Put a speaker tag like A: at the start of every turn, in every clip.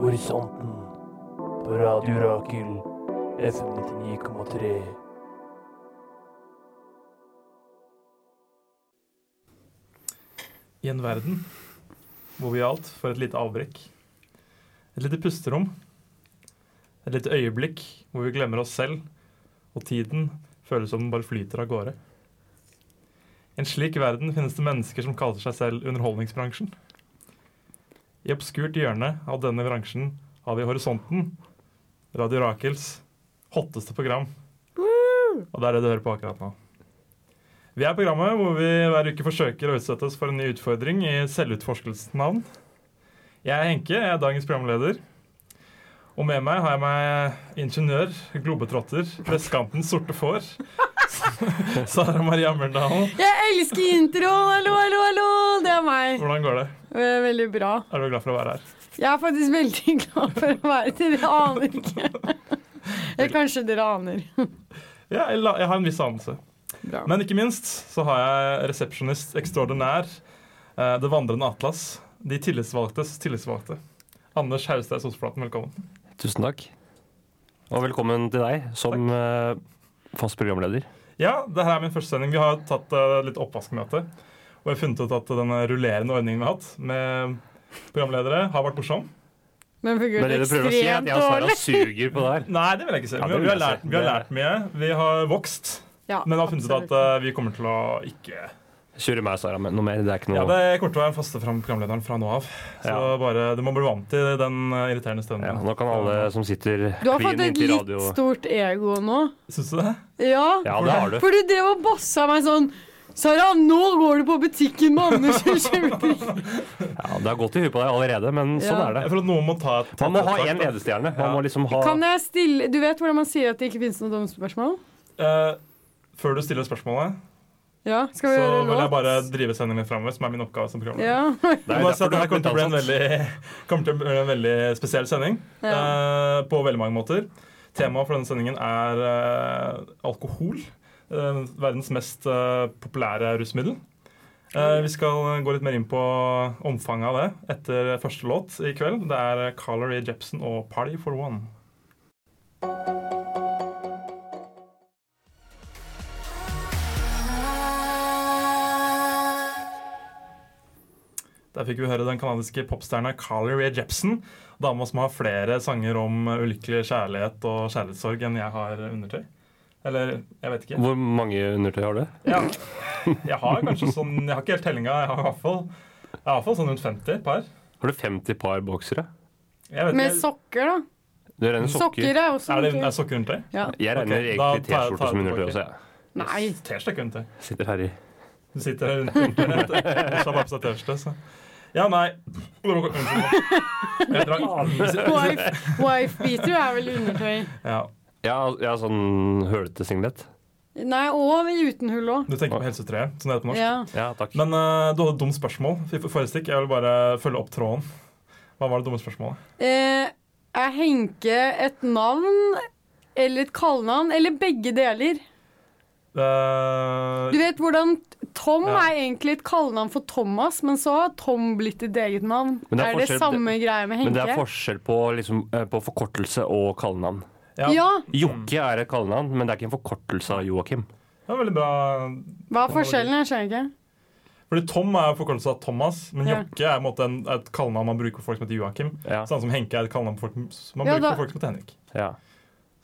A: Horisonten på Radio Rakel FM 99,3.
B: I en verden hvor vi alt får et lite avbrekk. Et lite pusterom. Et lite øyeblikk hvor vi glemmer oss selv, og tiden føles som den bare flyter av gårde. I en slik verden finnes det mennesker som kaller seg selv underholdningsbransjen. I obskurt hjørne av denne bransjen har vi Horisonten, Radio Rakels hotteste program. Og det er det du hører på akkurat nå. Vi er programmet hvor vi hver uke forsøker å utsette oss for en ny utfordring i selvutforskelsens navn. Jeg er Henke, jeg er dagens programleder. Og med meg har jeg meg ingeniør, globetrotter, presskampens sorte får. Sara Maria Mørndalen,
C: Jeg elsker introen! Hallo, hallo, hallo! Det er meg.
B: hvordan går det?
C: Eh, Veldig bra.
B: Er du glad for å være her?
C: Jeg er faktisk veldig glad for å være til. Dere aner ikke. Eller kanskje dere aner.
B: Ja, jeg la- jeg har en viss anelse.
C: Bra.
B: Men ikke minst så har jeg resepsjonist ekstraordinær, eh, Det vandrende atlas, De tillitsvalgtes tillitsvalgte. Anders Haustad Sosflaten, velkommen.
D: Tusen takk. Og velkommen til deg som eh, fast programleder.
B: Ja, det her er min første sending. Vi har tatt eh, litt oppvaskmøte. Og jeg har funnet ut at denne rullerende ordningen vi har hatt med programledere, har vært morsom.
C: Men
D: Det er
C: fungerte
D: det du prøver å si, at
C: ekstremt
D: jeg og Sara
C: dårlig.
D: suger på det her.
B: Nei, det vil jeg ikke
D: Ja,
B: si.
D: det
B: vi, har-
D: vil
B: vi, har
D: jeg
B: lært,
D: si.
B: vi har
D: Det-
B: lært mye. Vi har vokst.
C: Ja,
B: Men jeg har funnet ut
C: absolutt.
B: at eh, vi kommer til å ikke
D: Kjører meg, Sara, men noe mer. Det er ikke noe
B: Ja, det kommer til å være den faste fram programlederen fra nå av. Så
D: Ja.
B: bare, Du må bli vant til den eh, irriterende stønnen.
D: Ja, Nå kan alle som sitter
C: Du har fått
D: klin
C: et
D: inntil
C: litt
D: radio
C: stort ego nå.
B: Syns du det?
C: Ja.
D: Ja, det har du.
C: For du drev og bossa meg sånn Sara, nå går du på butikken med Anders og kjøper drikke.
D: Ja, det har gått i huet på deg allerede, men sånn
C: Ja.
D: er det.
B: Jeg tror at noen må ta et
D: Man må ha
B: opptak,
D: én
B: da.
D: ledestjerne. Man
B: Ja.
D: må liksom ha
C: Kan jeg stille Du vet hvordan man sier at det ikke finnes noe domspørsmål?
B: Eh, Før du stiller spørsmålet,
C: Ja, skal
B: så
C: vi gjøre
B: vil jeg
C: låt?
B: bare drive sendingen framover, som er min oppgave som programleder.
C: Ja.
D: Det er
B: Bare
D: derfor
B: si
D: du
B: at
D: har
B: det her kommer til å bli en
D: blitt
B: veldig, kommer til å bli en veldig spesiell sending.
C: ja.
B: eh, på veldig mange måter. Temaet for denne sendingen er eh, alkohol. eh, verdens mest eh, populære rusmiddel. Eh, vi skal gå litt mer inn på omfanget av det etter første låt i kveld. Det er eh, Carla Rae Jepsen og 'Party for One'. Der fikk vi høre den kanadiske popstjerna Carly Rae Jepsen. Dama som har flere sanger om ulykkelig kjærlighet og kjærlighetssorg enn jeg har undertøy. Eller jeg vet ikke.
D: Hvor mange undertøy har du?
B: Ja, jeg har kanskje sånn Jeg har ikke helt tellinga. Jeg har i hvert fall, jeg har i hvert fall sånn rundt 50 par.
D: Har du 50 par boksere?
B: Jeg vet
C: Med
B: ikke,
C: sokker, da.
D: Du regner sokker. altså-
C: Sokker er også
B: er det
C: noe.
B: er sokker undertøy?
C: Ja.
D: Jeg regner
B: Ok, da
D: egentlig
B: tar jeg- tar jeg
D: T-skjorte som
B: tilbake.
D: undertøy også, jeg.
C: Nei.
B: T-skjorte er ikke undertøy.
D: Sitter her i
B: Du sitter her rundt internett og slår bare på seg T-skjorte, så Ja, nei. Unnskyld. Jeg drar.
C: Wife, wife beater er vel undertøy.
B: Ja,
D: Ja, jeg har sånn hølete singlet.
C: Nei, og uten hull òg.
B: du tenker på helsetrøye, som det heter på norsk.
C: Ja.
D: Ja, takk.
B: Men eh, du hadde et dumt spørsmål. i for- Forrige stikk, Jeg vil bare følge opp tråden. Hva var det dumme spørsmålet?
C: Eh, er Henke et navn eller et kallenavn, eller begge deler?
B: Eh,
C: Du vet hvordan Tom
B: Ja.
C: er egentlig et kallenavn for Thomas, men så har Tom blitt ditt eget navn.
D: Men det
C: er,
D: er
C: det
D: forskjell-
C: samme greia med
D: Men det
C: Henke?
D: er forskjell på, liksom, eh, på forkortelse og kallenavn.
B: ja.
C: ja.
D: Jokke er et kallenavn, men det er ikke en forkortelse av Joakim.
B: Det var veldig bra.
C: Hva er forskjellen? Jeg skjønner ikke.
B: Fordi Tom er forkortelse av Thomas, men
C: Ja.
B: Jokke er, på en måte en, er et kallenavn man bruker for folk som heter Joakim.
D: Ja,
B: Samme som Henke er et kallenavn for folk, man
C: Ja,
B: bruker
C: da-
B: for folk som heter Henrik.
D: ja.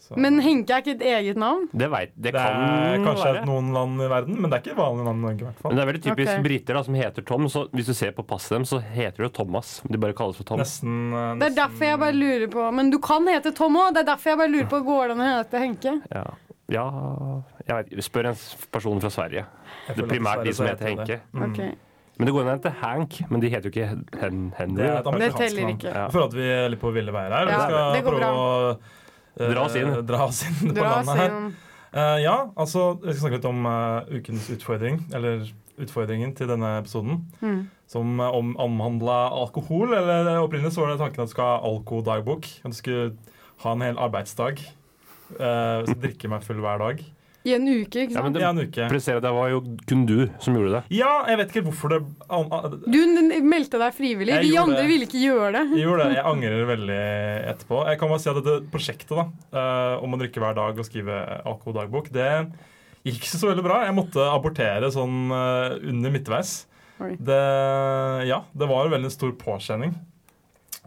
B: Så.
C: Men Henke er ikke et eget navn?
D: Det veit Det,
B: det
D: kan
B: er kanskje
D: være.
B: noen land i verden, men det er ikke vanlige land i Norge. i hvert
D: Men
B: fall.
D: det er veldig typisk
C: Ok.
D: briter da, som heter Tom. Så hvis du ser på passet dem, så heter de jo Thomas. De bare kalles for Tom.
B: Nesten, eh,
C: Det er
B: nesten
C: derfor jeg bare lurer på Men du kan hete Tom òg. Det er derfor jeg bare lurer på Går det an å hete Henke?
D: Ja, ja jeg vet, ikke. Spør en person fra Sverige. Det
B: jeg føler
D: er
B: at
D: primært de som
B: dessverre så
D: heter Henke.
B: Mm.
C: Ok,
D: Men det går an å hete Hank, men de heter jo ikke Hen- Hen Henry.
B: Det er et
C: Det
B: amerikansk
C: teller
B: navn.
C: ikke.
D: Ja.
B: Jeg føler at vi er litt på ville veier her.
C: Ja,
B: vi skal
C: det går
B: prøve å eh,
D: Dra oss inn.
B: dra oss inn på
C: Dra
B: landet her.
C: sin
B: Eh, ja, altså Jeg skal snakke litt om eh, ukens utfordring, eller utfordringen til denne episoden.
C: Mm.
B: Som eh, om omhandla alkohol. Eller eh, opprinnelig så var det tanken at du skal ha alkodagbok. At du skulle ha en hel arbeidsdag. eh, så drikke meg full hver dag.
C: I en uke, ikke
D: Ja, men
C: sant?
D: det
B: I en uke.
D: presiserer at det var jo kun du som gjorde det.
B: Ja, jeg vet ikke helt hvorfor det an- an-
C: Du n- meldte deg frivillig.
B: Jeg
C: Vi
B: gjorde
C: andre
B: det.
C: ville ikke gjøre det.
B: Jeg gjorde det. Jeg angrer veldig etterpå. Jeg kan bare si at dette prosjektet da, eh, om å drikke hver dag og skrive alkoholdagbok, det gikk ikke så veldig bra. Jeg måtte abortere sånn eh, under midtveis.
C: Oi.
B: Det, ja, det var veldig stor påkjenning.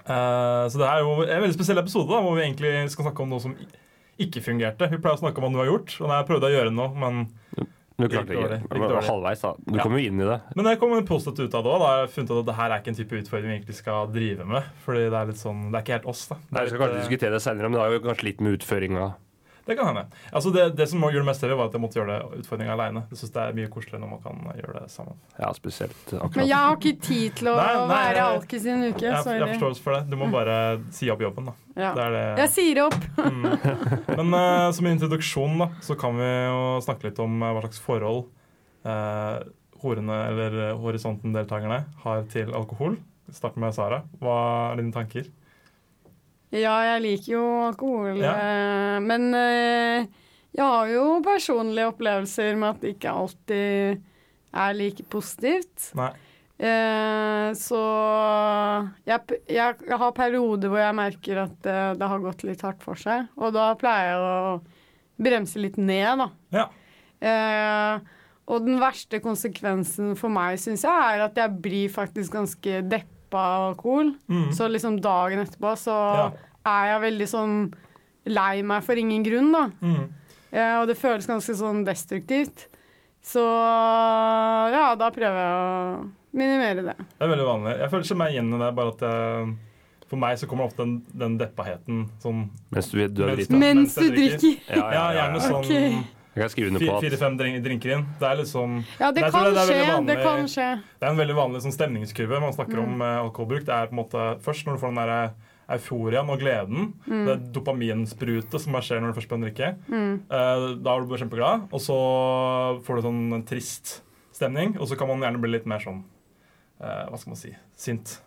B: Eh, så det er jo en veldig spesiell episode da, hvor vi egentlig skal snakke om noe som ikke fungerte. Vi pleier å snakke om hva du har gjort, og jeg prøvde å gjøre noe, men,
D: Du
B: Gikk
D: klarte ikke.
B: dårlig, gikk
D: Det var
B: dårlig.
D: halvveis, da. Du
B: Ja.
D: kom jo inn i det.
B: men jeg kom positivt ut av det òg. Da har jeg funnet ut at det her er ikke en type utfordring vi egentlig skal drive med. Fordi det er litt sånn, det er ikke helt oss, da. Det
D: Nei,
B: er
D: Vi skal
B: litt,
D: kanskje
B: eh,
D: diskutere det senere, men det har jo kanskje litt med utføringa
B: Det kan hende. Altså det, det som gjorde mest til, var at jeg måtte gjøre det utfordringa aleine. Jeg synes det er mye koseligere når man kan gjøre det sammen.
D: Ja, spesielt akkurat.
C: Men jeg har ikke tid til å
B: Nei, nei,
C: være
B: nei.
C: alkis i en uke.
B: Jeg, jeg
C: Sorry.
B: forstår oss for det. Du må bare si opp jobben, da.
C: Ja.
B: Det er det.
C: Jeg sier opp.
B: Mm. Men eh, som introduksjon, da, så kan vi jo snakke litt om eh, hva slags forhold eh, horene, eller eh, horisonten-deltakerne, har til alkohol. Start med Sara. Hva er dine tanker?
C: Ja, jeg liker jo alkohol,
B: Ja.
C: eh, men eh, jeg har jo personlige opplevelser med at det ikke alltid er like positivt.
B: Nei.
C: Eh, så jeg, p- jeg har perioder hvor jeg merker at eh, det har gått litt hardt for seg, og da pleier jeg å bremse litt ned, da.
B: Ja.
C: Eh, og den verste konsekvensen for meg, syns jeg, er at jeg blir faktisk ganske deppa av alkohol.
B: Mm.
C: Så liksom dagen etterpå så
B: Ja.
C: er jeg veldig sånn lei meg for ingen grunn, da.
B: Mm.
C: Eh, og det føles ganske sånn destruktivt. Så ja, da prøver jeg å minimere det.
B: Det er veldig vanlig. Jeg føler ikke meg igjen i det, bare at jeg, for meg så kommer ofte den, den deppaheten sånn
D: Mens du, du er
B: Mens-
D: drita.
C: Mens
B: mens
C: du
B: jeg drikker.
D: Ja,
C: drikker.
B: Ja, gjerne sånn
C: Ok.
D: Jeg kan skrive under på at
B: fire-fem drinker inn. Det er liksom
C: Ja, det
B: Jeg tror
C: kan
B: det er
C: skje.
B: veldig
C: Det
B: vanlig.
C: kan skje.
B: Det er en veldig vanlig sånn stemningskurve man snakker om eh, alkoholbruk. Det er på en måte først når du får den der eh, euforiaen og gleden, det dopaminsprutet som bare skjer når du først begynner å drikke.
C: Mm.
B: Eh, da er du bare kjempeglad, og så får du sånn en trist stemning, og så kan man gjerne bli litt mer sånn eh, Hva skal man si sint.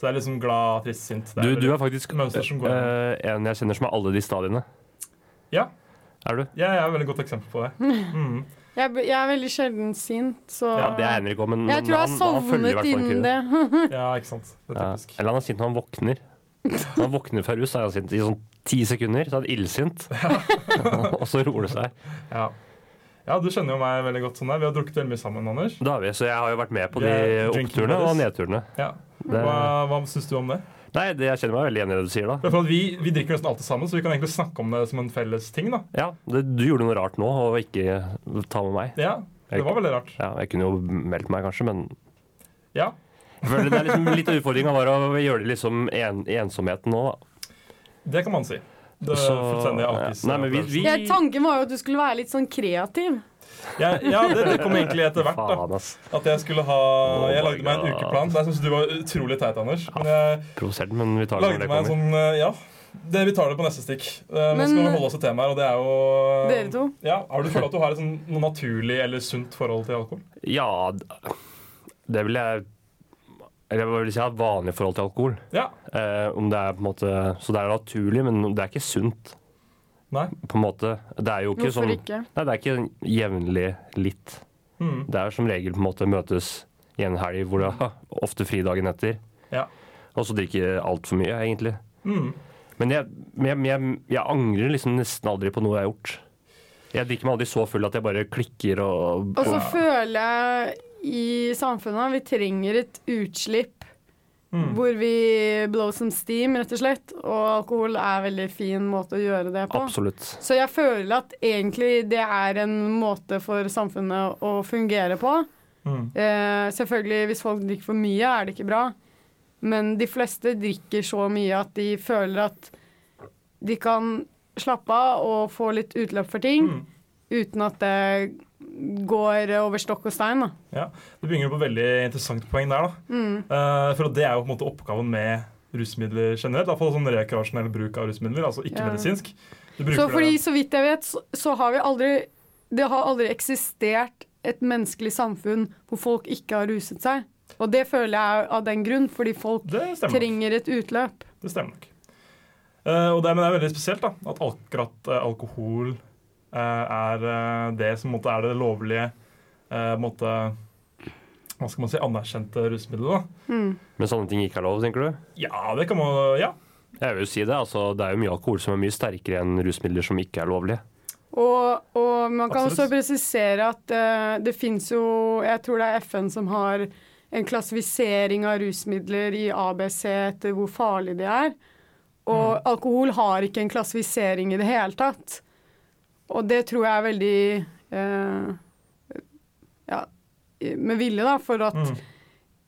B: Så det er liksom glad, trist, sint. Det
D: du,
B: veldig-
D: du er faktisk
B: mønster som går igjen.
D: eh, en jeg kjenner som er alle de stadiene.
B: Ja.
D: Er du?
B: Ja, jeg er et veldig godt eksempel på det. Mm.
C: Jeg, jeg er veldig sjelden sint, så
D: Ja, det er Henrik òg, men
C: Jeg tror jeg har
D: han- han følger i hvert
C: sovnet
D: fall ikke
C: innen
D: det.
C: det.
B: Ja, ikke sant. Det er
D: Ja.
B: typisk.
D: Eller han er sint når han våkner. Når han våkner fra rus, så er han sint i sånn ti sekunder. Så er han illsint. og så roer det seg.
B: Ja. ja, du kjenner jo meg veldig godt sånn der. Vi har drukket veldig mye sammen, Anders.
D: Da er vi, så jeg har jo vært med på de
B: Yeah, drinking
D: oppturene og
B: buddies.
D: nedturene.
B: Ja.
D: Det,
B: Hva, hva syns du om det?
D: nei, det, jeg kjenner meg veldig igjen i det du sier da.
B: Det er for at vi, vi drikker nesten alltid sammen, så vi kan egentlig snakke om det som en felles ting. da.
D: Ja, det, du gjorde noe rart nå og ikke ta med meg.
B: Ja, Det var veldig rart.
D: Ja, jeg kunne jo meldt meg kanskje, men
B: Ja,
D: jeg føler det er liksom litt av utfordringa var å gjøre det liksom en, i ensomheten nå, da.
B: det kan man si. Det er
D: Så-
B: fullstendig
D: ja.
B: alkis. eh,
D: Nei, men vi, vi
C: Jeg, tanken var jo at du skulle være litt sånn kreativ.
B: Ja, ja det, det kom egentlig etter hvert. da.
D: Faen, ass.
B: At jeg skulle ha
D: Oh
B: Jeg
D: my
B: lagde meg en
D: God.
B: ukeplan. Det syns du var utrolig teit, Anders. Men jeg
D: Provosert, men vi tar det når
B: lagde
D: det
B: meg en
D: kommer.
B: sånn eh, Ja. Det, vi tar det på neste stikk. Eh, Nå
C: Men-
B: skal vi holde oss til temaet, og det er jo eh,
C: Dere to.
B: Ja, Har du følt at du har et sånn noe naturlig eller sunt forhold til alkohol?
D: Ja, d- det vil jeg Eller jeg vil si jeg har et vanlig forhold til alkohol.
B: Ja.
D: Eh, om det er på en måte Så det er naturlig, men det er ikke sunt,
B: Nei?
D: på en måte. Det er jo ikke
C: Hvorfor
D: sånn
C: ikke?
D: Nei, det er ikke jevnlig litt.
B: Mm.
D: Det er som regel på en måte møtes i en helg hvor det er ofte fri dagen etter.
B: Ja.
D: Og så drikke altfor mye, egentlig.
B: Mm.
D: Men jeg, men jeg, men jeg, jeg angrer liksom nesten aldri på noe jeg har gjort. Jeg drikker meg aldri så full at jeg bare klikker og,
C: Og så føler jeg i samfunnet at vi trenger et utslipp
B: Mm.
C: hvor vi blow some steam, rett og slett. Og alkohol er en veldig fin måte å gjøre det på.
D: Absolutt.
C: Så jeg føler at egentlig det er en måte for samfunnet å fungere på.
B: Mm.
C: Eh, selvfølgelig, hvis folk drikker for mye, er det ikke bra. Men de fleste drikker så mye at de føler at de kan slappe av og få litt utløp for ting,
B: Mm.
C: uten at det går over stokk og stein. Da.
B: Ja, Du bringer opp et veldig interessant poeng der. da.
C: Mm.
B: Eh, for Det er jo på en måte oppgaven med rusmidler generelt. Iallfall sånn rekreasjonell bruk av rusmidler, altså ikke
C: Ja.
B: medisinsk. Du
C: Så
B: bruker
C: fordi,
B: det
C: så vidt jeg vet, så, så har vi aldri Det har aldri eksistert et menneskelig samfunn hvor folk ikke har ruset seg. Og det føler jeg er av den grunn, fordi folk
B: Det stemmer nok.
C: trenger et utløp.
B: Det stemmer nok. Eh, og det, men det er veldig spesielt da, at akkurat eh, alkohol eh, er eh, det som på en måte er det lovlige eh, på en måte, Hva skal man si anerkjente rusmiddelet. da.
C: Mm.
D: Men sånne ting ikke er lov, tenker du?
B: Ja, det kan man Ja.
D: Jeg vil jo si det. altså Det er jo mye alkohol som er mye sterkere enn rusmidler som ikke er lovlige.
C: Og, og man kan
B: Absolutt.
C: også presisere at eh, det fins jo Jeg tror det er FN som har en klassifisering av rusmidler i ABC etter hvor farlig de er. Og
B: Mm.
C: alkohol har ikke en klassifisering i det hele tatt. Og det tror jeg er veldig eh, Ja, med vilje, da, for at
B: Mm.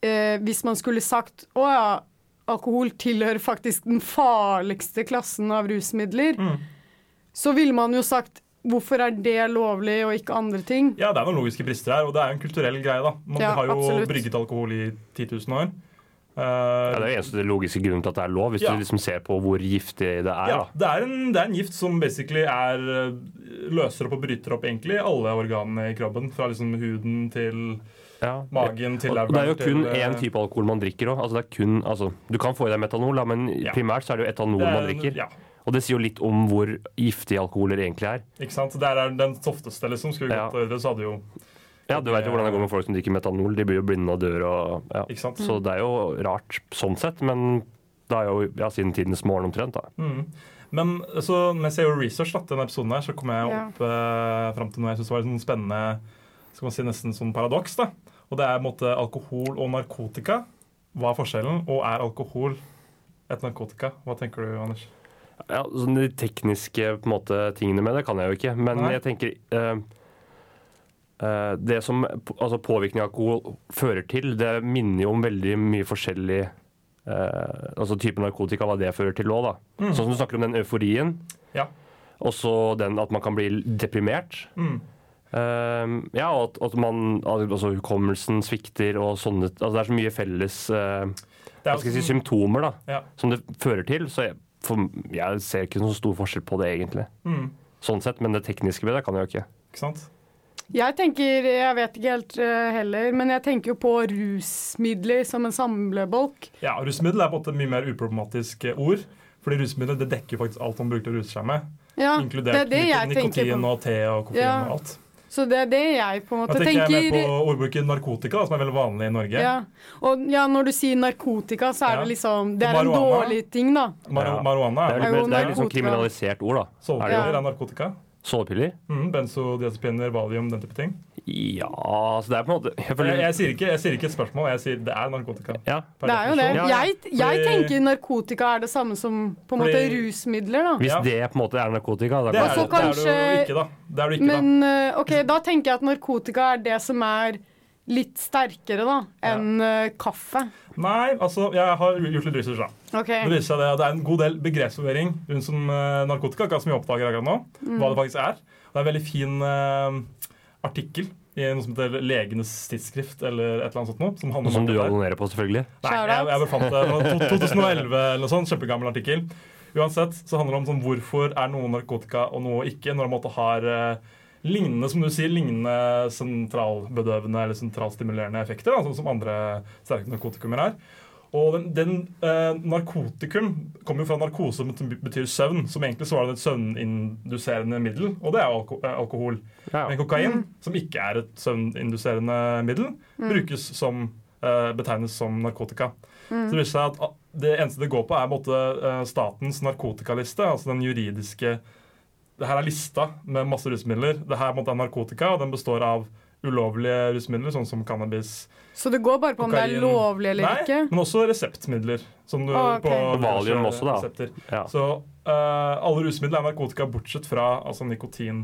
C: eh, hvis man skulle sagt å ja, alkohol tilhører faktisk den farligste klassen av rusmidler,
B: Mm.
C: så ville man jo sagt hvorfor er det lovlig og ikke andre ting?
B: Ja, det er noen logiske brister her, og det er jo en kulturell greie, da. Man
C: Ja,
B: har jo
C: absolutt.
B: brygget alkohol i 10 000 år. Eh,
D: Ja, det er jo eneste logiske grunnen til at det er lov, hvis
B: Ja.
D: du liksom ser på hvor giftig det er.
B: ja,
D: da.
B: det, er en, det er en gift som basically er eh, løser opp og bryter opp egentlig alle organene i kroppen. Fra liksom huden til
D: Ja.
B: magen til
D: Og det er jo
B: leveren
D: kun
B: til, eh,
D: én type alkohol man drikker òg. Altså, det er kun- altså, du kan få i deg metanol, da, men
B: Ja.
D: primært så er det jo etanol
B: det er-
D: man drikker.
B: Ja,
D: Og det sier jo litt om hvor giftige alkoholer egentlig er.
B: ikke sant? Der er den softeste, liksom. Skulle vi
D: Ja.
B: gått over det, så hadde jo
D: Ja, Du vet jo hvordan det går med folk som drikker metanol. De blir jo blinde og dør. Og, ja.
B: Ikke sant?
D: Så det er jo rart sånn sett, men det er jo ja, siden tidenes morgen omtrent. da.
B: Mm. Men så, mens jeg gjorde research da, til denne episoden, her, så kom jeg
C: Ja.
B: opp eh, fram til noe jeg synes var litt sånn spennende skal man si nesten sånn paradoks. da. Og det er på en måte alkohol og narkotika. Hva er forskjellen? Og er alkohol et narkotika? Hva tenker du, Anders?
D: Ja, sånn De tekniske på en måte, tingene med det kan jeg jo ikke, men
B: Nei.
D: jeg tenker eh, eh, Det som p- altså, påvirkning av alkohol fører til, det minner jo om veldig mye forskjellig eh, Altså typen narkotika, hva det fører til òg, da.
B: Mm.
D: Sånn som du snakker om den euforien,
B: Ja.
D: og så den at man kan bli deprimert.
B: Mm.
D: Eh, ja, og at, at man Altså hukommelsen svikter og sånne altså, Det er så mye felles eh,
B: Det
D: hva skal jeg si, symptomer da,
B: Ja.
D: som det fører til. Så jeg, for, jeg ser ikke noen stor forskjell på det, egentlig.
B: mm.
D: Sånn sett, Men det tekniske med det kan jeg jo ikke.
B: Ikke sant?
C: Jeg tenker, jeg vet ikke helt eh, heller, men jeg tenker jo på rusmidler som en samlebolk.
B: Ja, Rusmiddel er på en måte et mye mer uproblematisk eh, ord. Fordi rusmiddel det dekker jo faktisk alt man bruker til å ruse seg med.
C: Ja, Ah, det
B: Inkludert
C: er det jeg tenker
B: nikotin
C: på.
B: og te og koffein
C: Ja.
B: og alt.
C: Så det er det jeg på en
B: Da
C: måte
B: tenker jeg mer
C: tenker.
B: på ordbruken narkotika, da, som er veldig vanlig i Norge.
C: Ja. Og ja, når du sier narkotika, så er
B: Ja.
C: det liksom Det
B: Og
C: er en
B: marihuana.
C: dårlig ting, da.
B: Mar
D: Ja.
B: Marihuana
D: Det
B: er
D: er
B: vel
D: jo litt, mer- det er litt sånn
C: narkotika.
D: kriminalisert ord, da.
B: Sovepiller
C: Ja.
B: er narkotika.
D: Sovepiller?
B: Mm, Benzodiazepiner, valium, den type ting.
D: Ja altså Det er på en måte jeg
B: Jeg,
D: føler,
B: jeg, sier ikke, jeg sier ikke et spørsmål, jeg sier det er narkotika.
D: ja.
C: Det er jo det.
D: Ja, ja.
C: Jeg, jeg
B: Fordi-
C: tenker narkotika er det samme som på en måte
B: Fordi-
C: rusmidler, da.
D: Hvis
B: Ja.
D: det på en måte er narkotika, da
B: Det er,
D: kan
C: Og
B: det,
C: så
D: jeg-
B: det er
C: kanskje-
B: du jo ikke, da. Det er du ikke, da.
C: Men eh, ok, da tenker jeg at narkotika er det som er litt sterkere da, enn eh, kaffe.
B: Nei, altså, jeg har gjort litt research, da.
C: Ok,
B: Det viser seg det at det er en god del begrepsforvirring rundt som eh, narkotika, akkurat som vi oppdager akkurat nå,
C: Mm.
B: hva det faktisk er. Det er en veldig fin eh, artikkel i noe som heter Legenes tidsskrift, eller et eller annet sånt noe, som handler om
D: Som du
B: akkurat det.
D: abonnerer på, selvfølgelig.
B: Nei, jeg, jeg befant det fra to- 2011 eller noe sånt. Kjempegammel artikkel. Uansett så handler det om sånn, hvorfor er noe narkotika og noe ikke, når det måtte har eh, lignende som du sier, lignende sentralbedøvende eller sentralstimulerende effekter, da, sånn som andre sterke narkotikumer er. Og den, den eh, narkotikum kommer jo fra narkose, som betyr søvn, som egentlig så var det et søvninduserende middel, og det er jo alko eh, alkohol.
D: Ja.
B: Men kokain,
C: Mm.
B: som ikke er et søvninduserende middel, brukes som eh, betegnes som narkotika.
C: Mm.
B: Så det viser seg at ah, det eneste det går på, er på en måte eh, statens narkotikaliste, altså den juridiske Det her er lista med masse rusmidler. Det her på en måte er narkotika, og den består av ulovlige rusmidler, sånn som cannabis.
C: Så det går bare på om det
B: Kokain-
C: er lovlig eller
B: Nei,
C: ikke?
B: men også reseptmidler. Som du
C: Ah, ok.
B: på
D: Og Valium også, da.
B: Resepter.
D: Ja.
B: Så eh, alle rusmidler er narkotika, bortsett fra altså, nikotin,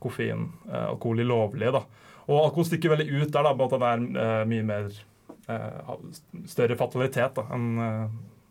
B: koffein, eh, alkohol i lovlige. Da. Og alkohol stikker veldig ut der, da, på at det er eh, mye mer eh, ha- større fatalitet da, enn eh,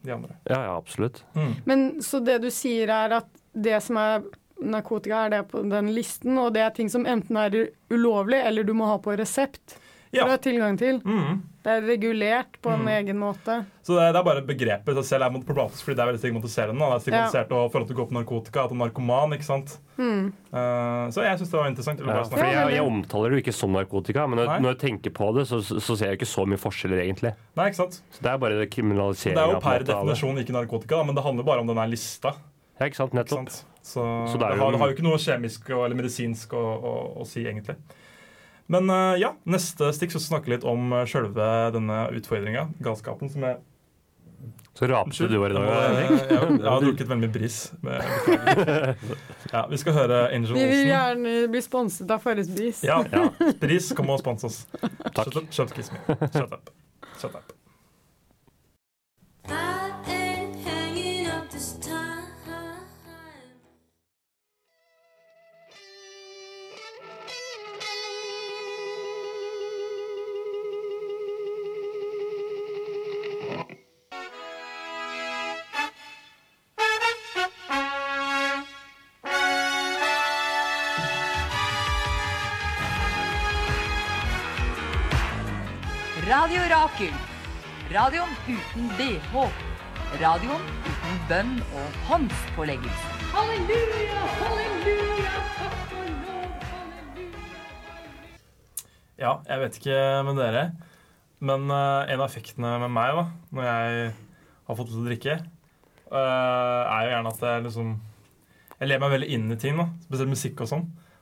B: de andre.
D: ja, ja, absolutt.
B: Mm.
C: Men så det du sier er at det som er narkotika, er det på den listen, og det er ting som enten er ulovlig eller du må ha på resept for
B: Ja.
C: å ha tilgang til.
B: Mm.
C: Det er regulert på en
B: Mm.
C: egen måte.
B: Så det, det er bare begrepet i seg selv er på en måte problematisk, fordi det er veldig stigmatiserende. da. Det er stigmatisert å føle at du går på narkotika, at du er narkoman, ikke sant.
C: Mm.
B: Eh, så jeg syns det var interessant. Jeg ville
D: Ja,
B: bare snakke
D: for
B: om det.
D: jeg, jeg omtaler det jo ikke som narkotika, men når,
B: Nei.
D: når jeg tenker på det, så, så ser jeg ikke så mye forskjeller, egentlig.
B: Nei, ikke sant?
D: Så Det er bare
B: Det er jo
D: kriminaliseringa.
B: per definisjon ikke narkotika, da, men det handler bare om den her lista.
D: Ja, ikke sant?
B: Ikke
D: Nettopp.
B: sant? Så,
D: Så
B: det,
D: det er jo
B: har,
D: en-
B: det har jo ikke noe kjemisk og, eller medisinsk å, å, å si, egentlig. Men eh, ja, neste stikk så snakke litt om eh, sjølve denne utfordringa, galskapen, som jeg
D: Så rapte du var i dag. eh,
B: Jeg,
D: Henrik.
B: jeg, jeg, har drukket veldig mye bris. men jeg beklager. Ja, vi skal høre Angel
C: Vi vil
B: Olsen.
C: gjerne bli sponset av Farris Bris.
B: Ja,
D: Ja,
B: Bris, kom og spons oss.
D: Takk.
B: Shut up, shut kiss me. Shut up. Shut up.
E: I ain't hanging up this time.
F: Radio Rakel. Radioen uten BH. Radioen uten bønn og håndspåleggelse.
B: Ja, jeg vet ikke med dere, men eh, en av effektene med meg da, når jeg har fått til å drikke, eh, er jo gjerne at jeg liksom Jeg lever meg veldig inn i ting, da, spesielt musikk og sånn.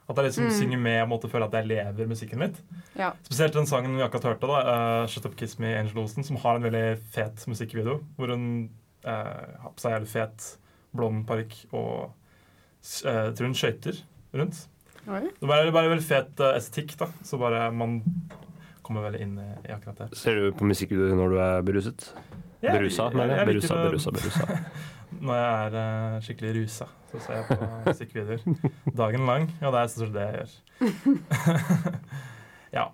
B: At jeg liksom synger med og måtte føle at jeg lever musikken litt.
C: Ja.
B: Spesielt den sangen vi akkurat hørte, da, eh, 'Shut Up Kiss Me', Angel Olsen, som har en veldig fet musikkvideo. Hvor hun eh, har på seg jævlig fet blond parykk og s- eh, tror hun skøyter rundt.
C: Oi.
B: Det var bare veldig fet eh, estetikk, da. Så bare man kommer veldig inn i i akkurat det.
D: Ser du på musikkvideo når du er beruset?
B: Jeg-
D: Berusa,
B: jeg-
D: mener jeg.
B: jeg liker
D: Berusa,
B: det
D: berusa, berusa.
B: Når jeg er eh, skikkelig rusa, så ser jeg på musikkvideoer dagen lang. Og det er stort sett det jeg gjør. ja.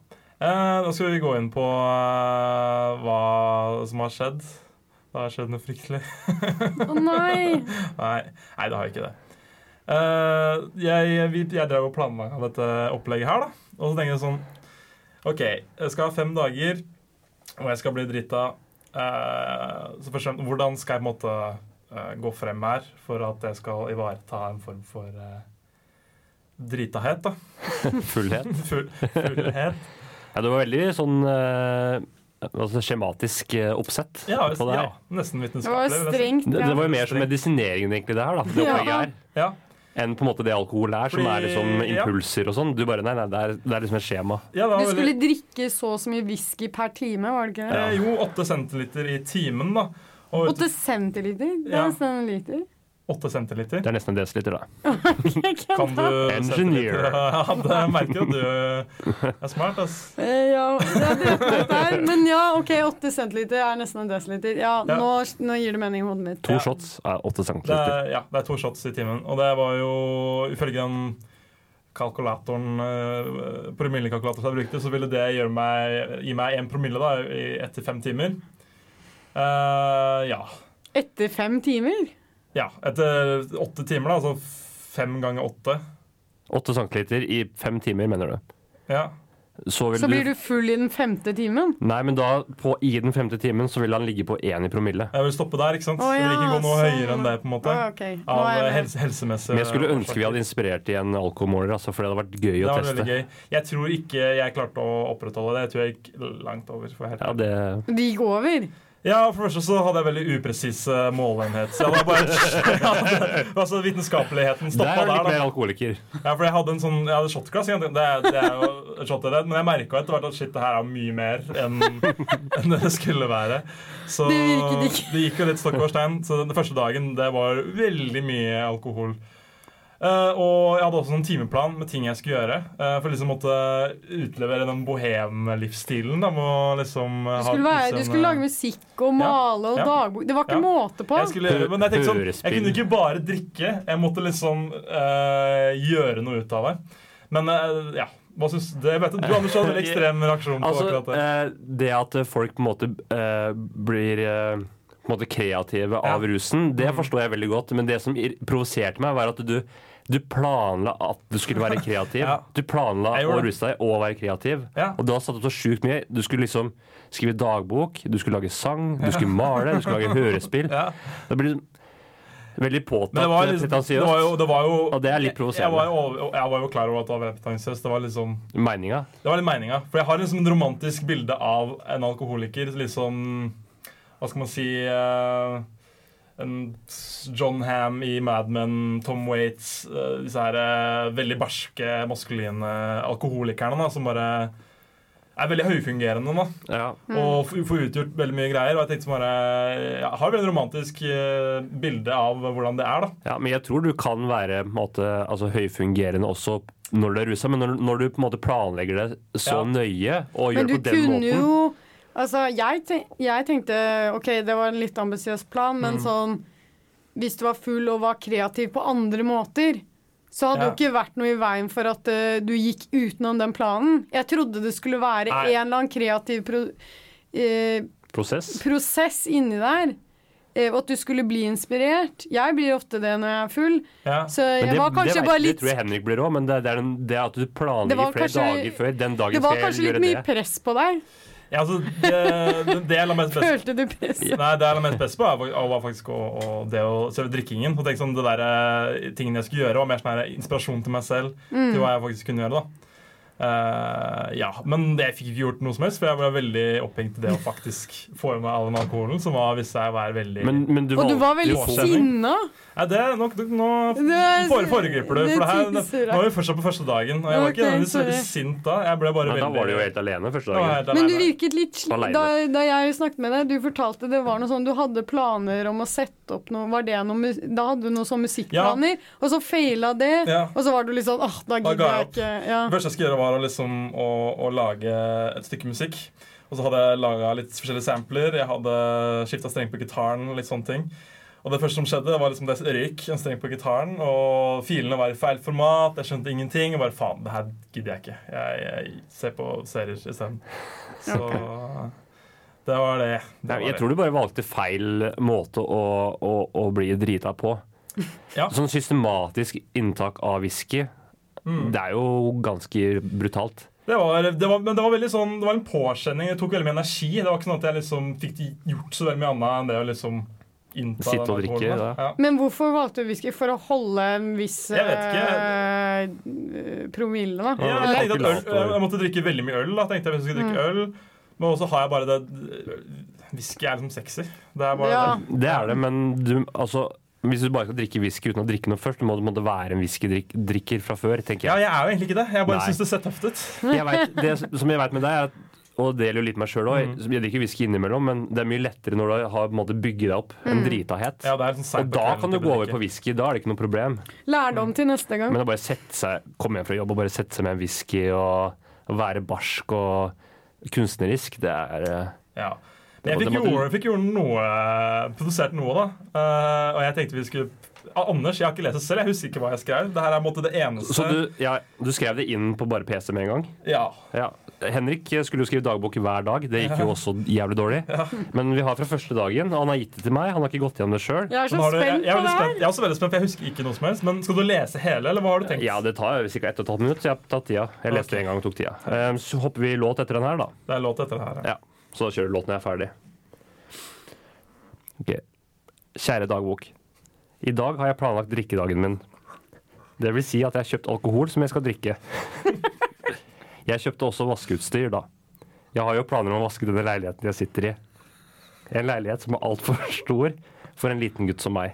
B: Eh, da skal vi gå inn på eh, hva som har skjedd. Det har skjedd noe fryktelig.
C: Å nei!
B: Nei, nei det har jeg ikke det. Eh, jeg, vi, jeg drev og planla dette opplegget her, da. Og så tenker jeg sånn OK, jeg skal ha fem dager, og jeg skal bli drita. Eh, så først, og fremst, hvordan skal jeg på en måte eh, gå frem her for at jeg skal ivareta en form for eh, dritahet, da?
D: Fullhet.
B: Full, fullhet.
D: Ja, det var veldig sånn eh, altså skjematisk eh, oppsett
B: Ja,
D: på det
B: ja,
D: her.
B: nesten
C: Det
B: vitenskapelig.
C: var
B: vil jeg si.
C: strengt.
D: Det, det var
C: Ja.
D: jo mer som medisineringen, egentlig, det her, da. Det
C: Ja.
D: opplegget her.
B: Ja,
D: Enn på en måte det alkohol er, som
B: Fordi-
D: er liksom
B: ja.
D: impulser og sånn. Du bare Nei, nei, det er, det er liksom et skjema.
B: ja, det var
C: Du
B: veldig-
C: skulle drikke så og så mye whisky per time, var det ikke det?
B: eh, Jo, åtte centiliter i timen, da. Og
C: Åtte centiliter? Det
B: Ja.
C: er nesten en liter.
B: åtte centiliter.
D: Det er nesten en desiliter, da.
B: Kan du
D: Engineer.
B: sette litt- Ja, det merker jo du er smart, ass.
C: Eh, Ja, ja, det er det her. Men ja, OK, åtte centiliter er nesten en desiliter. Ja,
B: Ja.
C: Nå, nå gir det mening i hodet mitt.
D: To shots er åtte
B: Det
D: centiliter.
B: er, ja, det er to shots i timen. Og det var jo ifølge den kalkulatoren eh, promillekalkulatoren som jeg brukte, så ville det gjøre meg, gi meg én promille da, i ett til fem timer. Eh, ja.
C: Etter fem timer?
B: ja. Etter åtte timer, da, altså fem ganger åtte.
D: Åtte centiliter i fem timer, mener du.
B: Ja.
D: Så vil
C: Så blir
D: du
C: du full i den femte timen?
D: Nei, men da, på, i den femte timen, så vil han ligge på én i promille.
B: Jeg vil stoppe der, ikke sant?
C: Å,
B: Jeg vil ikke
C: ja,
B: gå noe
C: sånn.
B: høyere enn det, på en måte.
C: Ah, ok. Nå
B: Av
C: er jeg
B: eh,
C: med.
B: helse, helsemessige
D: Men jeg skulle ønske vi
B: årsaker.
D: hadde inspirert i en alkoholmåler, altså, for det hadde vært gøy
B: Det
D: å
B: var
D: teste.
B: veldig gøy. Jeg tror ikke jeg klarte å opprettholde det. Jeg tror jeg gikk langt over. For å være helt
D: Ja,
B: ærlig.
D: det
C: De gikk over?
B: ja, for det første så hadde jeg veldig upresise måleenhet. Så jeg var bare, ja, det, altså Vitenskapeligheten
D: Der
B: stoppa
D: er du litt
B: der.
D: mer
B: da.
D: alkoholiker.
B: Ja, for jeg hadde en sånn, jeg hadde shotglass. ikke sant? Det, er- det er jo shotteredd, men jeg merka etter hvert at shit, det her er mye mer enn enn det det skulle være. Så
C: Det virket ikke.
B: det gikk jo litt stokk over stein. Så den første dagen det var veldig mye alkohol. Eh, og jeg hadde også en timeplan med ting jeg skulle gjøre. eh, for liksom måtte utlevere den bohem-livsstilen. Da, med å liksom eh,
C: Du
B: ha
C: skulle, være, du
B: liksom,
C: skulle lage
B: eh,
C: musikk og male og
B: Ja.
C: dagbok Det var ikke
B: Ja.
C: måte på.
B: jeg skulle, men jeg tenkte sånn, jeg kunne ikke bare drikke. Jeg måtte liksom eh, gjøre noe ut av det. Men eh, ja. Hva syns du? Jeg vet at du Anders hadde en ekstrem reaksjon på
D: Altså,
B: akkurat det.
D: eh, det at eh, folk på en måte eh, blir eh, på en måte kreative av
B: Ja. Mm.
D: rusen, det forstår jeg veldig godt. Men det som ir- provoserte meg, var at du, du planla at du skulle være kreativ.
B: Ja.
D: Du planla
B: Jeg
D: å
B: gjorde det.
D: ruse deg og være kreativ.
B: Ja.
D: Og du har satt opp så sjukt mye. Du skulle liksom skrive dagbok, du skulle lage sang, du skulle male, du skulle lage hørespill.
B: Ja.
D: Det blir liksom veldig påtatt
B: Men det var,
D: eh,
B: liksom, det var jo,
D: pretensiøst.
B: det var jo
D: Og det er litt
B: Jeg, jeg, var
D: provoserende.
B: jo over- jeg var jo klar over at det var veldig pretensiøst. Det var liksom
D: Meninga.
B: Det var litt meninga. For jeg har liksom et romantisk bilde av en alkoholiker. Liksom Hva skal man si eh, en s- John Ham i Mad Men, Tom Waits eh, Disse her eh, veldig barske, maskuline alkoholikerne da, som bare er veldig høyfungerende. da
D: Ja.
B: og f- får utgjort veldig mye greier. Og jeg tenkte som bare, jeg har et veldig romantisk eh, bilde av hvordan det er. da.
D: ja, men jeg tror du kan være på en måte, altså, høyfungerende også når du er rusa, men når, når du på en måte planlegger det så
B: Ja.
D: nøye og
C: Men
D: gjør
C: du
D: det på den
C: kunne
D: måten
C: jo Altså, jeg, tenk, jeg tenkte OK, det var en litt ambisiøs plan, men
D: Mm.
C: sånn Hvis du var full og var kreativ på andre måter, så hadde det
B: Ja.
C: jo ikke vært noe i veien for at eh, du gikk utenom den planen. Jeg trodde det skulle være
B: Nei.
C: en eller annen kreativ pro, eh,
D: Prosess.
C: prosess inni der. eh, Og at du skulle bli inspirert. Jeg blir ofte det når jeg er full.
B: Ja.
C: Så
D: Men
C: jeg var kanskje
D: vet-
C: bare
D: det
C: litt
D: tror jeg Henrik blir òg, men det, det er den, det at du
C: Det
D: planlegger
C: var
D: flere
C: kanskje-
D: dager før Den dagen
C: Det var
D: skal
C: kanskje
D: jeg
C: litt
D: gjøre
C: mye
D: det.
C: press på deg.
B: Ja, altså, det, det jeg la mest press
C: Følte du presset?
B: Nei, det jeg la mest press på, er fak- var faktisk å, å, det å selve drikkingen. Og tenk sånn, det der, eh, Tingene jeg skulle gjøre, var mer sånn her inspirasjon til meg selv.
C: Mm.
B: Til hva jeg faktisk kunne gjøre. da. Eh, ja, Men det jeg fikk ikke gjort noe som helst, for jeg ble veldig opphengt i det å faktisk få i meg all den alkoholen. som var, hvis jeg var veldig...
D: Men, men du
C: Og du var
D: valgte jo
C: veldig
D: også-
C: sinna.
B: Nei, det er nok, nok, nå
C: Det er-
B: fore, foregriper du.
C: det
B: For det her,
C: teaser deg.
B: nå er vi fortsatt på første dagen. Og jeg var
C: Ok,
B: ikke nødvendigvis
C: sorry.
B: veldig sint da. Jeg ble bare
D: Nei, da
B: veldig
D: var du jo helt alene første
B: Da var jeg
D: dagen.
B: helt
C: Men du
B: alene.
C: virket litt sli-
D: Alene.
C: da, da jeg snakket med deg, du fortalte det var noe sånn Du hadde planer om å sette opp noe, var det noe mus- Da hadde du noe sånn musikkplaner, og så feila det,
B: Ja.
C: og så var du litt sånn Åh, da
B: Da
C: gidder
B: ga
C: jeg
B: jeg
C: ikke. Ja.
B: Det første jeg skulle gjøre, var å liksom, å, å lage et stykke musikk. Og så hadde jeg laga litt forskjellige sampler. Jeg hadde skifta streng på gitaren. og Litt sånne ting. Og det første som skjedde, var liksom det røyk en streng på gitaren. Og filene var i feil format. Jeg skjønte ingenting. Og bare faen, det her gidder jeg ikke. Jeg, jeg ser på serier isteden. Så det var det. det
D: Nei,
B: var
D: jeg
B: det.
D: tror du bare valgte feil måte å, å, å bli drita på.
B: Ja.
D: Sånn systematisk inntak av whisky,
B: Mm.
D: det er jo ganske brutalt.
B: Det var, det var, men det var veldig sånn, det var en påkjenning. Det tok veldig mye energi. Det var ikke sånn at jeg liksom fikk gjort så veldig mye annet enn det å liksom innta
D: Sitte
B: den
D: og drikke,
B: alkoholen, da.
D: ja.
B: Ja.
C: Men hvorfor valgte du whisky? For å holde en viss
B: Jeg vet ikke.
C: eh, promille, da?
B: Ja,
D: det
B: jeg,
D: var
B: tenkte at øl,
D: kalkulator.
B: jeg måtte drikke veldig mye øl. da, tenkte jeg hvis jeg skulle
C: Mm.
B: drikke øl. Men også har jeg bare det Whisky er liksom sexy. Det er bare
C: Ja.
D: Det er det, men du, altså hvis du bare skal drikke whisky uten å drikke noe først, du må du måtte være en whiskydrikker fra før, tenker
B: Ja,
D: jeg.
B: jeg er jo egentlig ikke det. Jeg bare
D: Nei.
B: syns det ser tøft ut.
D: jeg vet, det som jeg veit med deg, er at, og det gjelder jo litt meg sjøl òg,
B: Mm.
D: jeg drikker whisky innimellom, men det er mye lettere når du har på en måte bygget deg opp en dritahet.
B: Mm. Ja, det er liksom seint
D: og
B: på
D: da
B: kvelden
D: kan du
B: til å
D: gå over
B: drikke.
D: på whisky, da er det ikke noe problem.
C: Lærdom til neste gang.
D: Men å bare sette seg, komme hjem fra jobb og bare sette seg med en whisky og være barsk og kunstnerisk, det er eh,
B: Ja. Men jeg
D: Det
B: fikk,
D: måtte-
B: gjort, fikk gjort noe, produsert noe, da. Eh, og jeg tenkte vi skulle Ah, Anders, jeg har ikke lest det selv. Jeg husker ikke hva jeg skrev. Det her er på en måte det eneste
D: Så du, ja, du skrev det inn på bare PC med en gang?
B: Ja.
D: Ja. Henrik skulle jo skrive dagbok hver dag. Det gikk jo også jævlig dårlig. Men vi har fra første dagen, og han har gitt det til meg. Han har ikke gått gjennom det sjøl.
C: Jeg
B: Men
C: er så
B: har du, jeg,
C: spent
B: jeg, er
C: på
B: veldig
C: det her.
B: spent, jeg er også veldig spent, for jeg husker ikke noe som helst. Men skal du lese hele, eller hva har du tenkt?
D: Ja, det tar ca. 1 12 minutter, så jeg har tatt tida. Jeg leste
B: Ok.
D: en gang og tok tida. Eh, Så hopper vi låt etter den her, da.
B: Det er låt etter det her.
D: Ja,
B: Ja.
D: så da kjører du låten når jeg er ferdig. Ok. Kjære dagbok. I dag har jeg planlagt drikkedagen min. Det vil si at jeg har kjøpt alkohol som jeg skal drikke. Jeg kjøpte også vaskeutstyr, da. Jeg har jo planer om å vaske denne leiligheten jeg sitter i. En leilighet som er altfor stor for en liten gutt som meg.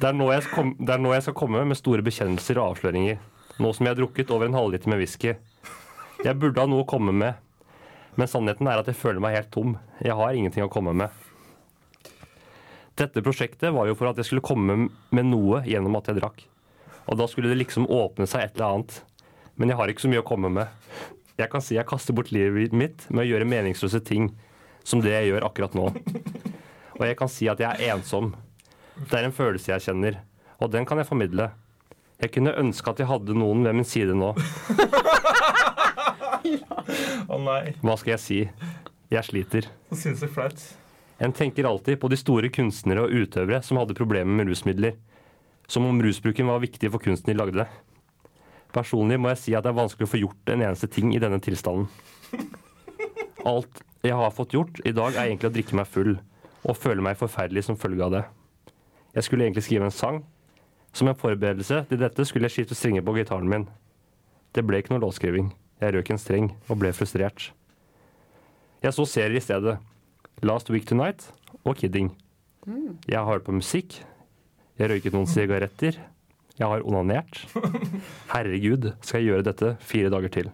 D: Det er, nå jeg skal komme, det er nå jeg skal komme med store bekjennelser og avsløringer. Nå som jeg har drukket over en halvliter med whisky. Jeg burde ha noe å komme med, men sannheten er at jeg føler meg helt tom. Jeg har ingenting å komme med. Dette prosjektet var jo for at jeg skulle komme med noe gjennom at jeg drakk. Og da skulle det liksom åpne seg et eller annet. Men jeg har ikke så mye å komme med. Jeg kan si jeg kaster bort livet mitt med å gjøre meningsløse ting, som det jeg gjør akkurat nå. Og jeg kan si at jeg er ensom. Det er en følelse jeg kjenner, og den kan jeg formidle. Jeg kunne ønske at jeg hadde noen ved min side nå.
B: Å nei,
D: Hva skal jeg si? Jeg sliter.
B: så syns jeg flaut.
D: En tenker alltid på de store kunstnere og utøvere som hadde problemer med rusmidler. Som om rusbruken var viktig for kunsten de lagde. Personlig må jeg si at det er vanskelig å få gjort en eneste ting i denne tilstanden. Alt jeg har fått gjort i dag, er egentlig å drikke meg full, og føle meg forferdelig som følge av det. Jeg skulle egentlig skrive en sang. Som en forberedelse til dette skulle jeg skifte strenger på gitaren min. Det ble ikke noe låtskriving. Jeg røk en streng og ble frustrert. Jeg så serier i stedet. Last Week Tonight og kidding.
C: Mm.
D: Jeg har hørt på musikk. Jeg røyket noen sigaretter. Jeg har onanert. Herregud, skal jeg gjøre dette fire dager til?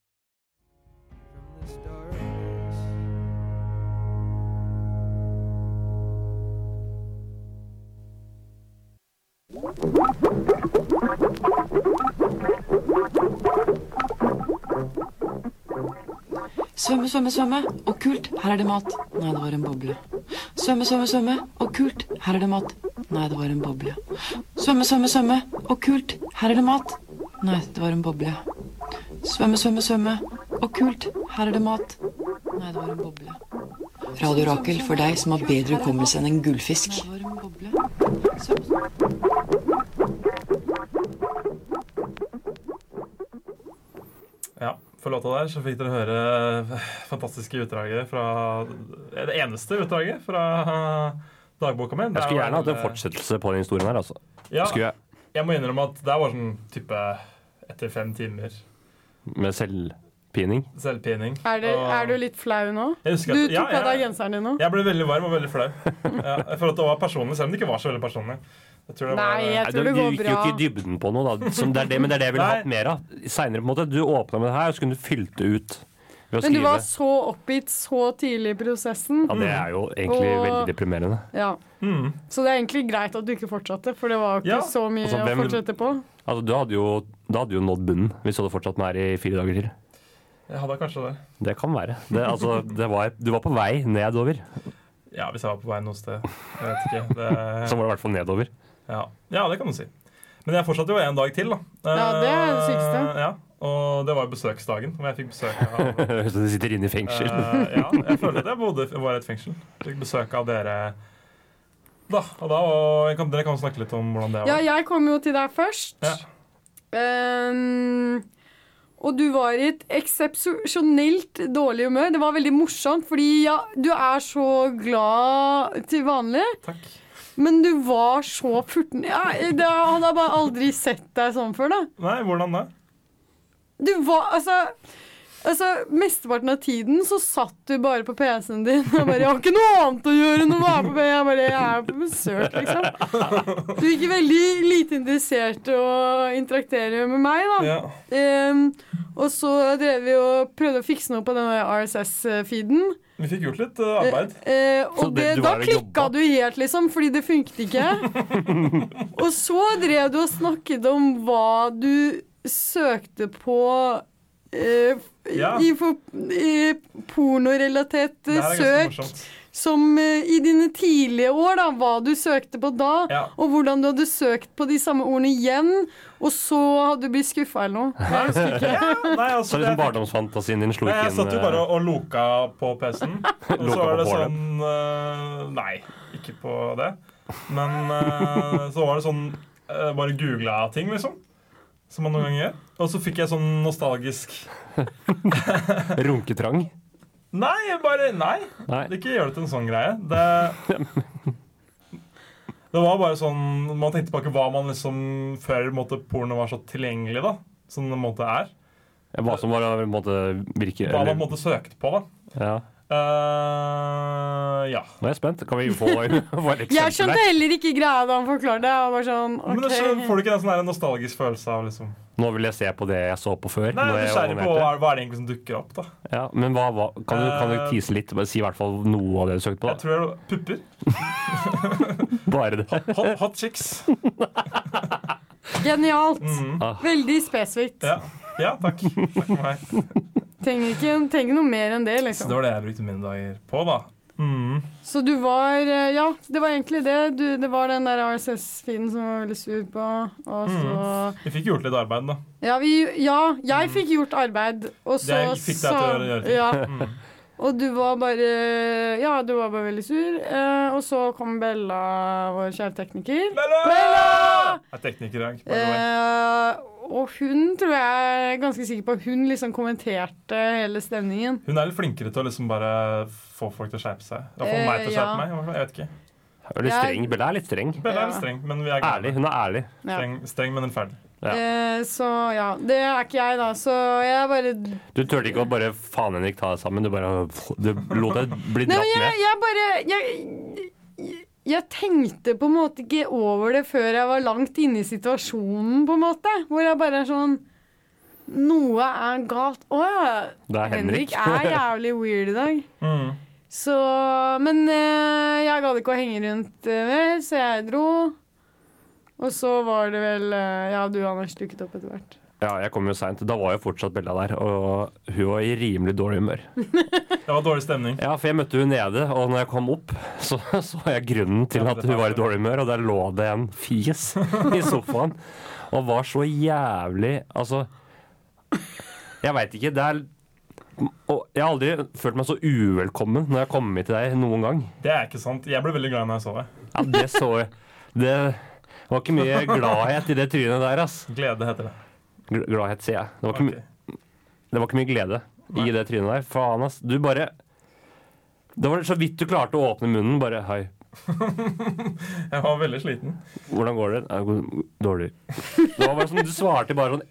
G: from this darkness.
H: Svømme, svømme, svømme. Og kult, her er det mat. Nei, det var en boble. Svømme, svømme, svømme. Og kult, her er det mat. Nei, det var en boble. Svømme, svømme, svømme. Og kult, her er det mat. Nei, det var en boble. Svømme, svømme, svømme. Og kult, her er det mat. Nei, det var en boble. Radio Rakel for deg som har bedre hukommelse enn en gullfisk. Nei, det var en boble. Svømme, svømme.
B: Ja, For låta der så fikk dere høre fantastiske utdraget fra Det eneste utdraget fra dagboka mi.
D: Jeg skulle gjerne hatt en fortsettelse på den historien her, altså.
B: eh, Ja,
D: Skulle jeg
B: jeg må innrømme at det er bare sånn type etter fem timer
D: Med selvpining.
B: selvpining.
C: Er, det,
B: Og-
C: er du litt flau nå?
B: Jeg husker
C: Du
B: at-
C: tok
B: ja,
C: av deg
B: jeg-
C: genseren din nå?
B: Jeg ble veldig varm og veldig flau. Ja, for at det var personlig, selv om det ikke var så veldig personlig. Jeg tror det var,
C: Nei, jeg
D: Nei, du,
C: tror det
D: du
C: går
D: gikk jo
C: bra.
D: ikke i dybden på noe, da. Som det er det, men det er det jeg ville
B: Nei.
D: hatt mer av. Senere, på en måte. Du åpna med det her, og så kunne du fylt det ut ved å
C: Men du
D: skrive.
C: var så oppgitt så tidlig i prosessen.
D: Ja, det er jo egentlig
C: Og-
D: veldig deprimerende.
C: Ja. Så det er egentlig greit at du ikke fortsatte, for det var ikke
B: Mm. Ja.
C: så mye
D: Altså, hvem-
C: å fortsette på.
D: Altså, du hadde jo, da hadde du jo nådd bunnen hvis du hadde fortsatt med her i fire dager til.
B: jeg hadde kanskje det.
D: Det kan være. Det, altså, det var, du var på vei nedover.
B: Ja, hvis jeg var på vei noe sted. Jeg vet
D: Så
B: ikke. Det,
D: var det i hvert fall nedover.
B: ja. ja, det kan du si. Men jeg fortsatte jo en dag til, da.
C: Ja, det er det
B: Eh,
C: sykeste.
B: Ja, og det var jo besøksdagen, hvor jeg fikk besøk av
D: Så du sitter inne i fengsel.
B: eh, Ja, jeg følte at jeg bodde, var i et fengsel. Fikk besøk av dere da. Og da og jeg kan, dere kan snakke litt om hvordan det
C: Ja,
B: var.
C: jeg kom jo til deg først.
B: Ja.
C: Ehm, og du var i et eksepsjonelt dårlig humør. Det var veldig morsomt, fordi ja, du er så glad til vanlig,
B: Takk.
C: men du var så furten. Ja, det, han har bare aldri sett deg sånn før, da.
B: Nei, hvordan da?
C: Du var altså Altså, Mesteparten av tiden så satt du bare på PC-en din og bare 'Jeg har ikke noe annet å gjøre enn å være på PC.' Jeg bare 'Jeg er på besøk', liksom. Du gikk veldig lite interessert i å interaktere med meg, da.
B: Ja.
C: Ehm, og så drev vi og prøvde å fikse noe på denne RSS-feeden.
B: Vi fikk gjort litt eh, arbeid.
C: Eh,
D: Så
C: og
D: det-
C: det,
D: du
C: da
D: var og
C: klikka
D: jobba.
C: du helt, liksom, fordi det funket ikke. og så drev du og snakket om hva du søkte på eh,
B: Ja.
C: i, for- i pornorelatert
B: Det
C: eh,
B: her er ganske
C: søk,
B: morsomt.
C: som eh, i dine tidlige år, da, hva du søkte på da,
B: Ja.
C: og hvordan du hadde søkt på de samme ordene igjen, og så hadde du blitt skuffa eller noe.
B: Nei, Nei, altså,
D: Så
B: det-
D: liksom barndomsfantasien din slo ikke
B: Nei, jeg
D: inn. eh,
B: satt jo bare og loka på PC-en. Og så
D: Loka
B: var
D: på
B: det
D: porno.
B: sånn eh, Nei, ikke på det. Men eh, så var det sånn eh, Bare googla ting, liksom. Som man noen ganger gjør. Og så fikk jeg sånn nostalgisk
D: eh, Runketrang.
B: Nei, jeg bare Nei!
D: Nei.
B: Ikke gjør det til en sånn greie. Det Det var bare sånn Man tenkte tilbake hva man liksom Før måtte porno var så tilgjengelig, da. Som det måtte er.
D: Hva som var på en måte virke
B: Hva man
D: eller-
B: måtte søkte på, da.
D: ja.
B: Eh, ja.
D: Nå er jeg spent. Kan vi få, få et
C: Jeg
D: eksempel
C: skjønte
D: her?
C: heller ikke greia da han forklarte det. Jeg var sånn,
B: Men det,
C: ok.
B: så får du ikke den sånn der nostalgisk følelse av liksom
D: Nå vil jeg se på det jeg så på før.
B: Nei,
D: når
B: jeg er
D: jeg
B: nysgjerrig på
D: onanerte.
B: hva, hva er det egentlig som dukker opp, da.
D: ja, Men hva, hva, kan, du, kan du tease litt? Bare si i hvert fall noe av det du søkte på.
B: Jeg tror det er pupper.
D: Da. Bare det.
B: Hot, hot chicks.
C: Genialt.
D: Ah.
C: Veldig spesifikt.
B: Mm. Ja. ja, takk. Takk for meg.
C: Trenger ikke trenger noe mer enn det,
B: Så
C: liksom.
B: det var det jeg brukte mine dager på, da. Mm.
C: Så du var eh, Ja, det var egentlig det. Du, det var den der RSS-feeden som var veldig sur på, og
B: Mm.
C: så
B: Vi fikk gjort litt arbeid, da.
C: Ja, vi, ja jeg fikk gjort arbeid, og så
B: Det Mm. Mm. fikk deg til å gjøre ting.
C: Ja. Og du var bare Ja, du var bare veldig sur. eh, Og så kom Bella, vår kjære tekniker.
B: Bella! Er tekniker i dag. by the way.
C: Eh, og hun tror jeg er ganske sikker på at hun liksom kommenterte hele stemningen.
B: Hun er litt flinkere til å liksom bare få folk til å skjerpe seg. Eller få
C: Eh,
B: meg til å
C: ja.
B: skjerpe meg. i hvert fall. Jeg vet ikke.
D: Hun er litt
C: Jeg-
D: streng. Bella er litt streng.
B: Bella er
C: Ja.
B: litt streng, men vi er glad i
D: Ærlig. Hun er ærlig.
B: henne.
C: Ja.
B: Streng, streng, men rettferdig.
D: Ja.
C: Eh, så ja. Det er ikke jeg, da. Så jeg bare
D: Du turte ikke å bare faen Henrik ta deg sammen. Du bare du lot deg bli
C: Nei,
D: dratt
C: men jeg,
D: med.
C: jeg bare jeg, jeg tenkte på en måte ikke over det før jeg var langt inne i situasjonen, på en måte. Hvor jeg bare er sånn Noe er galt. Å ja.
D: Det er Henrik.
C: Henrik er jævlig weird i dag.
B: Mm.
C: Så Men eh, jeg gadd ikke å henge rundt eh, mer, så jeg dro. Og så var det vel eh, Ja, du, Anders, dukket opp etter hvert.
D: Ja, jeg kom jo seint. Da var jo fortsatt Bella der, og hun var i rimelig dårlig humør.
B: Det var dårlig stemning.
D: Ja, for jeg møtte hun nede, og når jeg kom opp, så så jeg grunnen til at hun var i dårlig humør, og der lå det en fis i sofaen, og var så jævlig Altså, jeg veit ikke. Det er og Jeg har aldri følt meg så uvelkommen når jeg har kommet til deg noen gang.
B: Det er ikke sant. Jeg ble veldig glad når jeg så det.
D: Ja, det så jeg. Det var ikke mye gladhet i det trynet der, ass.
B: Glede heter det.
D: Gl- Gladhet, sier jeg. Det var ikke, mye-
B: Ok.
D: Det var ikke mye glede i det trynet der. Faen, ass. Du bare Det var så vidt du klarte å åpne munnen. Bare hei.
B: Jeg var veldig sliten.
D: Hvordan går det? «Nei, går- Dårlig. Det var bare som du svarte bare sånn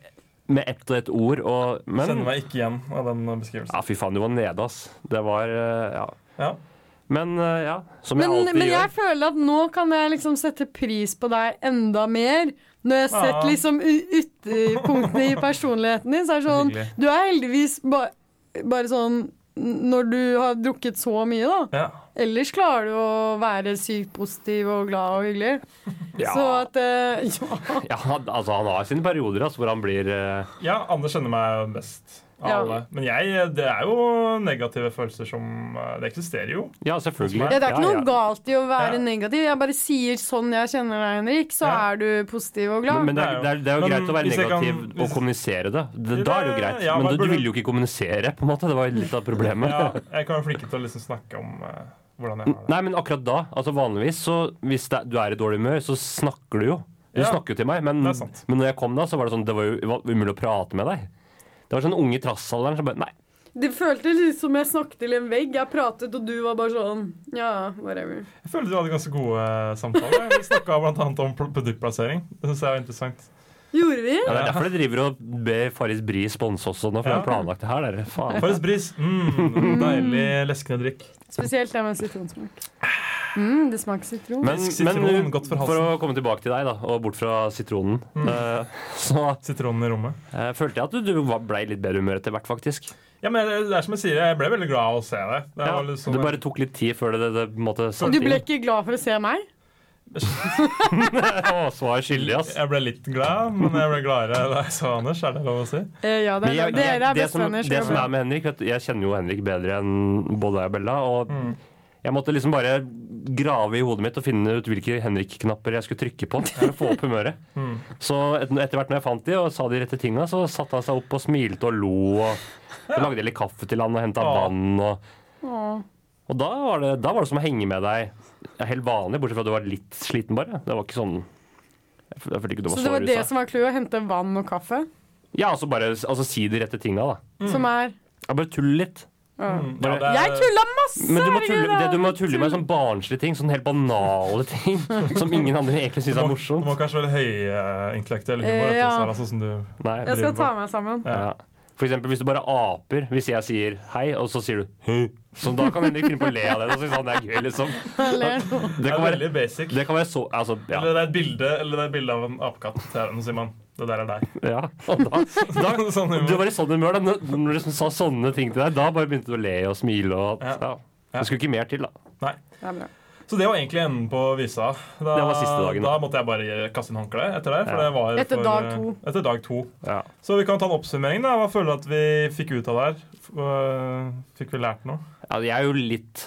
D: med ett og ett ord. Og,
B: Kjenner
D: men
B: meg ikke igjen av den beskrivelsen.
D: ja, fy faen, du var nede, ass. Det var eh, Ja.
B: Ja.
D: Men eh, ja, som jeg
C: Men,
D: alltid
C: men jeg
D: gjør.
C: føler at nå kan jeg liksom sette pris på deg enda mer. Når jeg har sett
B: Ja.
C: liksom u- ytterpunktene i personligheten din, så er det sånn
B: Hyggelig.
C: Du er heldigvis ba, bare sånn n- når du har drukket så mye, da.
B: ja.
C: Ellers klarer du å være sykt positiv og glad og hyggelig.
D: Ja.
C: Så at eh, Ja.
D: Ja, han- altså, han har sine perioder ass, hvor han blir eh,
B: ja, Anders kjenner meg best av
C: Ja.
B: alle. Men jeg, det er jo negative følelser som eh, Det eksisterer jo.
D: Ja, selvfølgelig.
C: Ja, det er ikke
D: Ja, ja.
C: noe galt i å være
B: Ja.
C: negativ. Jeg bare sier sånn jeg kjenner deg, Henrik, så
B: Ja.
C: er du positiv og glad.
D: Men, men det, er, det, er, det er jo
B: Men
D: greit å være
B: hvis jeg kan-
D: negativ og
B: hvis-
D: kommunisere det. det. Da er det jo greit.
B: Ja, men
D: men du,
B: burde-
D: du ville jo ikke kommunisere, på en måte. Det var jo litt av problemet.
B: Ja, jeg kan være flink til å liksom snakke om eh, hvordan jeg har det.
D: Nei, men akkurat da, altså vanligvis, så hvis det, du er i dårlig humør, så snakker du jo. Du
B: Ja.
D: snakker jo til meg, men,
B: Det er sant.
D: men når jeg kom da, så var det sånn, det var jo det var umulig å prate med deg. Det var sånn unge i trassalderen som bare, nei,
C: Det føltes litt som jeg snakket til en vegg. Jeg pratet, og du var bare sånn Ja, whatever.
B: Jeg føler du hadde ganske gode eh, samtaler. Vi snakka bl.a. om pl- produktplassering. Det syns jeg var interessant.
C: Gjorde vi?
D: ja, det er derfor det driver og ber Faris Bri sponse oss og nå, for
B: Ja.
D: jeg har planlagt det her, dere. Faen.
B: Farris bris. Mm, deilig leskende drikk.
C: Spesielt det med sitronsmak. Mm, det smaker sitron.
D: Men,
B: Frisk
D: men
B: sitron,
D: uh,
B: godt for
D: for,
B: halsen. Mm.
D: å komme tilbake til deg da, og bort fra sitronen, eh, så
B: Sitronen i rommet.
D: eh, følte jeg at du, du var- ble i litt bedre humør etter hvert, faktisk.
B: Ja, men det er som jeg sier, jeg ble veldig glad av å se det. det
D: Ja,
B: var litt sånn-
D: det bare tok litt tid før det, det, det på en måte
C: Og
D: satt
C: du ble ikke glad for å se meg?
D: Å, svar skyldig, ass.
B: Jeg ble litt glad, men jeg ble gladere da jeg så Anders. Er det lov å si?
C: Eh, ja, det
D: Men jeg,
C: er,
D: jeg,
C: dere er
D: det, som,
C: bestevenner. så
D: det
C: jeg
D: som
C: ble-
D: er med Henrik vet, du, Jeg kjenner jo Henrik bedre enn både deg og Bella. Og jeg måtte liksom bare grave i hodet mitt og finne ut hvilke Henrik-knapper jeg skulle trykke på. For å få opp humøret Så et, etter hvert når jeg fant de og sa de rette tinga, så satte han seg opp og smilte og lo. Og så lagde jeg litt kaffe til han og henta
B: Åh.
D: vann. Og,
C: Åh.
D: og da, var det, da var det som å henge med deg helt vanlig, bortsett fra at du var litt sliten, bare. Det var ikke sånn jeg føl- jeg følte ikke du var
C: Så
D: så,
C: det var det
D: rusa.
C: som var clouet? Å hente vann og kaffe?
D: Ja, altså bare altså, si de rette tinga, da.
C: Som er
D: Ja, Bare tull litt.
B: Mm, ja, det er-
C: Jeg tulla masse!
D: Men du må
C: herregud,
D: tulle,
C: da.
D: det, du må tulle med sånn barnslige ting, sånn helt banale ting som ingen andre egentlig syns
B: Du
D: er
B: må- Du
D: morsomt.
B: må kanskje være høyintellektuell humor.
C: Eh,
B: vet du,
C: ja.
B: Sara, sånn som du
D: Nei,
C: Jeg skal ta meg sammen.
D: ja. For eksempel hvis du bare aper, hvis jeg sier hei, og så sier du hei, så da kan Henrik finne på å le av det. Og synes han det er gøy, liksom.
C: Jeg ler nå.
D: Det
B: Det
D: kan
B: er
D: være,
B: veldig basic.
D: det kan være så Altså, ja.
B: Eller det er et bilde, eller det er et bilde av en apekatt. til Nå sier man det der er deg.
D: ja. Og da, da,
B: Sånn humor.
D: du var i sånn humør da når- når du liksom sa sånne ting til deg. Da bare begynte du å le og smile og ja. Det skulle ikke mer til, da.
B: Nei.
C: Det er bra.
B: Så det var egentlig enden på visa. Da,
D: Det var siste dagen.
B: da måtte jeg bare kaste inn håndkleet etter det.
D: Ja.
B: For det var
C: Etter
B: for,
C: dag to.
B: Etter dag to.
D: Ja.
B: Så vi kan ta en oppsummering. da. Hva føler du at vi fikk ut av det her? F- øh, Fikk vi lært noe?
D: ja jeg er jo litt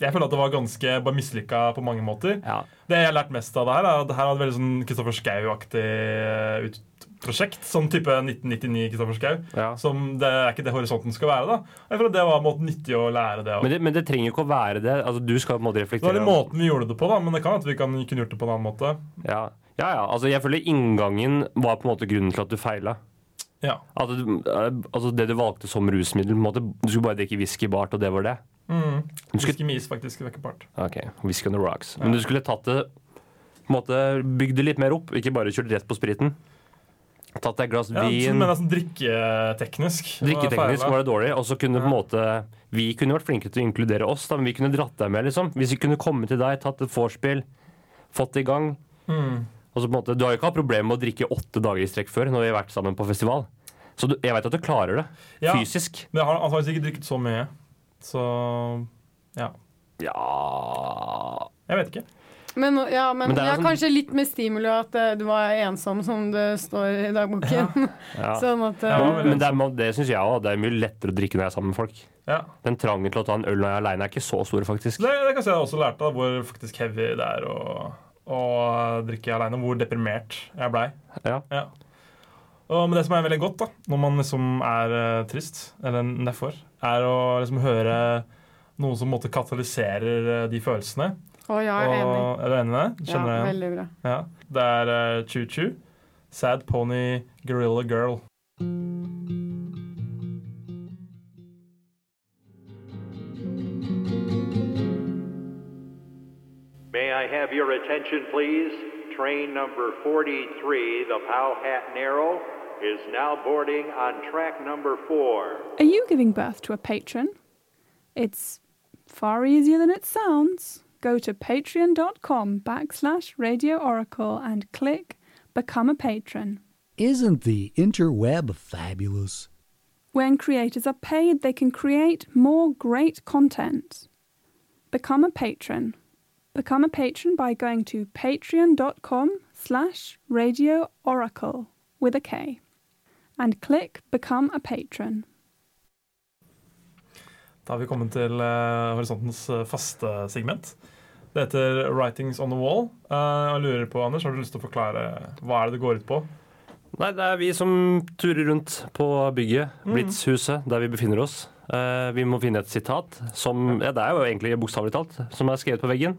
B: Jeg føler at det var ganske bare mislykka på mange måter.
D: ja.
B: Det jeg har lært mest av det her, er at det her hadde veldig sånn Kristoffer Schou-aktig øh, ut- prosjekt. Sånn type 1999 Kristoffer Schou.
D: Ja.
B: Som det er ikke det horisonten skal være. da. Jeg føler at Det var en måte nyttig å lære det. av.
D: Men det, men det trenger jo ikke å være det. Altså, du skal på en måte
B: Det var
D: reflektere
B: den måten vi gjorde det på, da, men det kan at vi kan, kunne gjort det på en annen måte.
D: Ja. Ja, ja. Altså, jeg føler inngangen var på en måte grunnen til at du feila.
B: Ja.
D: At du, eh, altså, det du valgte som rusmiddel på en måte, Du skulle bare drikke whisky bart, og det var det.
B: Mm.
D: Du skulle,
B: Whisky med is faktisk vekker part.
D: ok, whisky on the rocks. Men du skulle tatt det på en måte, Bygd det litt mer opp, ikke bare kjørt rett på spriten. Tatt deg et glass
B: Ja,
D: vin.
B: men altså, drikketeknisk. var
D: Drikketeknisk
B: feil,
D: var
B: da.
D: det dårlig. Og så kunne på en måte vi kunne vært flinke til å inkludere oss, da, men vi kunne dratt deg med. liksom Hvis vi kunne komme til deg, tatt et vorspiel, fått det i gang.
B: Mm.
D: Og så på en måte, Du har jo ikke hatt problemer med å drikke åtte dager i strekk før når vi har vært sammen på festival. Så du, jeg veit at du klarer det.
B: Ja,
D: Fysisk.
B: men jeg har antakeligvis ikke drukket så mye. Så ja.
D: Ja
B: Jeg vet ikke.
C: Men, ja, men,
D: Men det er
C: ja,
D: sånn-
C: kanskje litt med stimuli at eh, du var ensom, som det står i dagboken.
D: Ja.
C: sånn at eh,
B: Ja,
D: Men det, er med- det syns jeg òg. Det er mye lettere å drikke når jeg er sammen med folk.
B: Ja.
D: Den trangen til å ta en øl når jeg er aleine er ikke så stor,
B: Så
D: faktisk.
B: Det, det kanskje jeg også lærte, da, hvor faktisk heavy det er å, å drikke aleine. Hvor deprimert jeg blei.
D: Ja.
B: Og, men det som er veldig godt da, når man liksom er eh, trist, eller nedfor, er å liksom høre noe som på en måte katalyserer eh, de følelsene.
C: Å, ja, jeg er
B: og,
C: enig.
B: Er du enig i det?
C: Ja,
B: Skjønner jeg.
C: veldig bra.
B: Ja. Det er eh, Choo Choo, Sad Pony, Gorilla Girl.
G: May I have your attention, please? Train number 43, the Powhatan Arrow, is now boarding on track number 4.
I: Are you giving birth to a patron? It's far easier than it sounds. Go to patreon.com backslash radio oracle and click become a patron.
J: Isn't the interweb fabulous?
I: When creators are paid, they can create more great content. Become a patron. Become a patron by going to patreon.com slash radio oracle with a K and click become a patron.
B: Da har vi kommet til eh, Horisontens eh, faste segment. Det heter Writings on the Wall. Eh, jeg lurer på, Anders, Har du lyst til å forklare hva er det det går ut på?
D: Nei, det er vi som turer rundt på bygget, Blitzhuset, der vi befinner oss. Eh, vi må finne et sitat som ja, Mm. Det er jo egentlig bokstavelig talt, som er skrevet på veggen.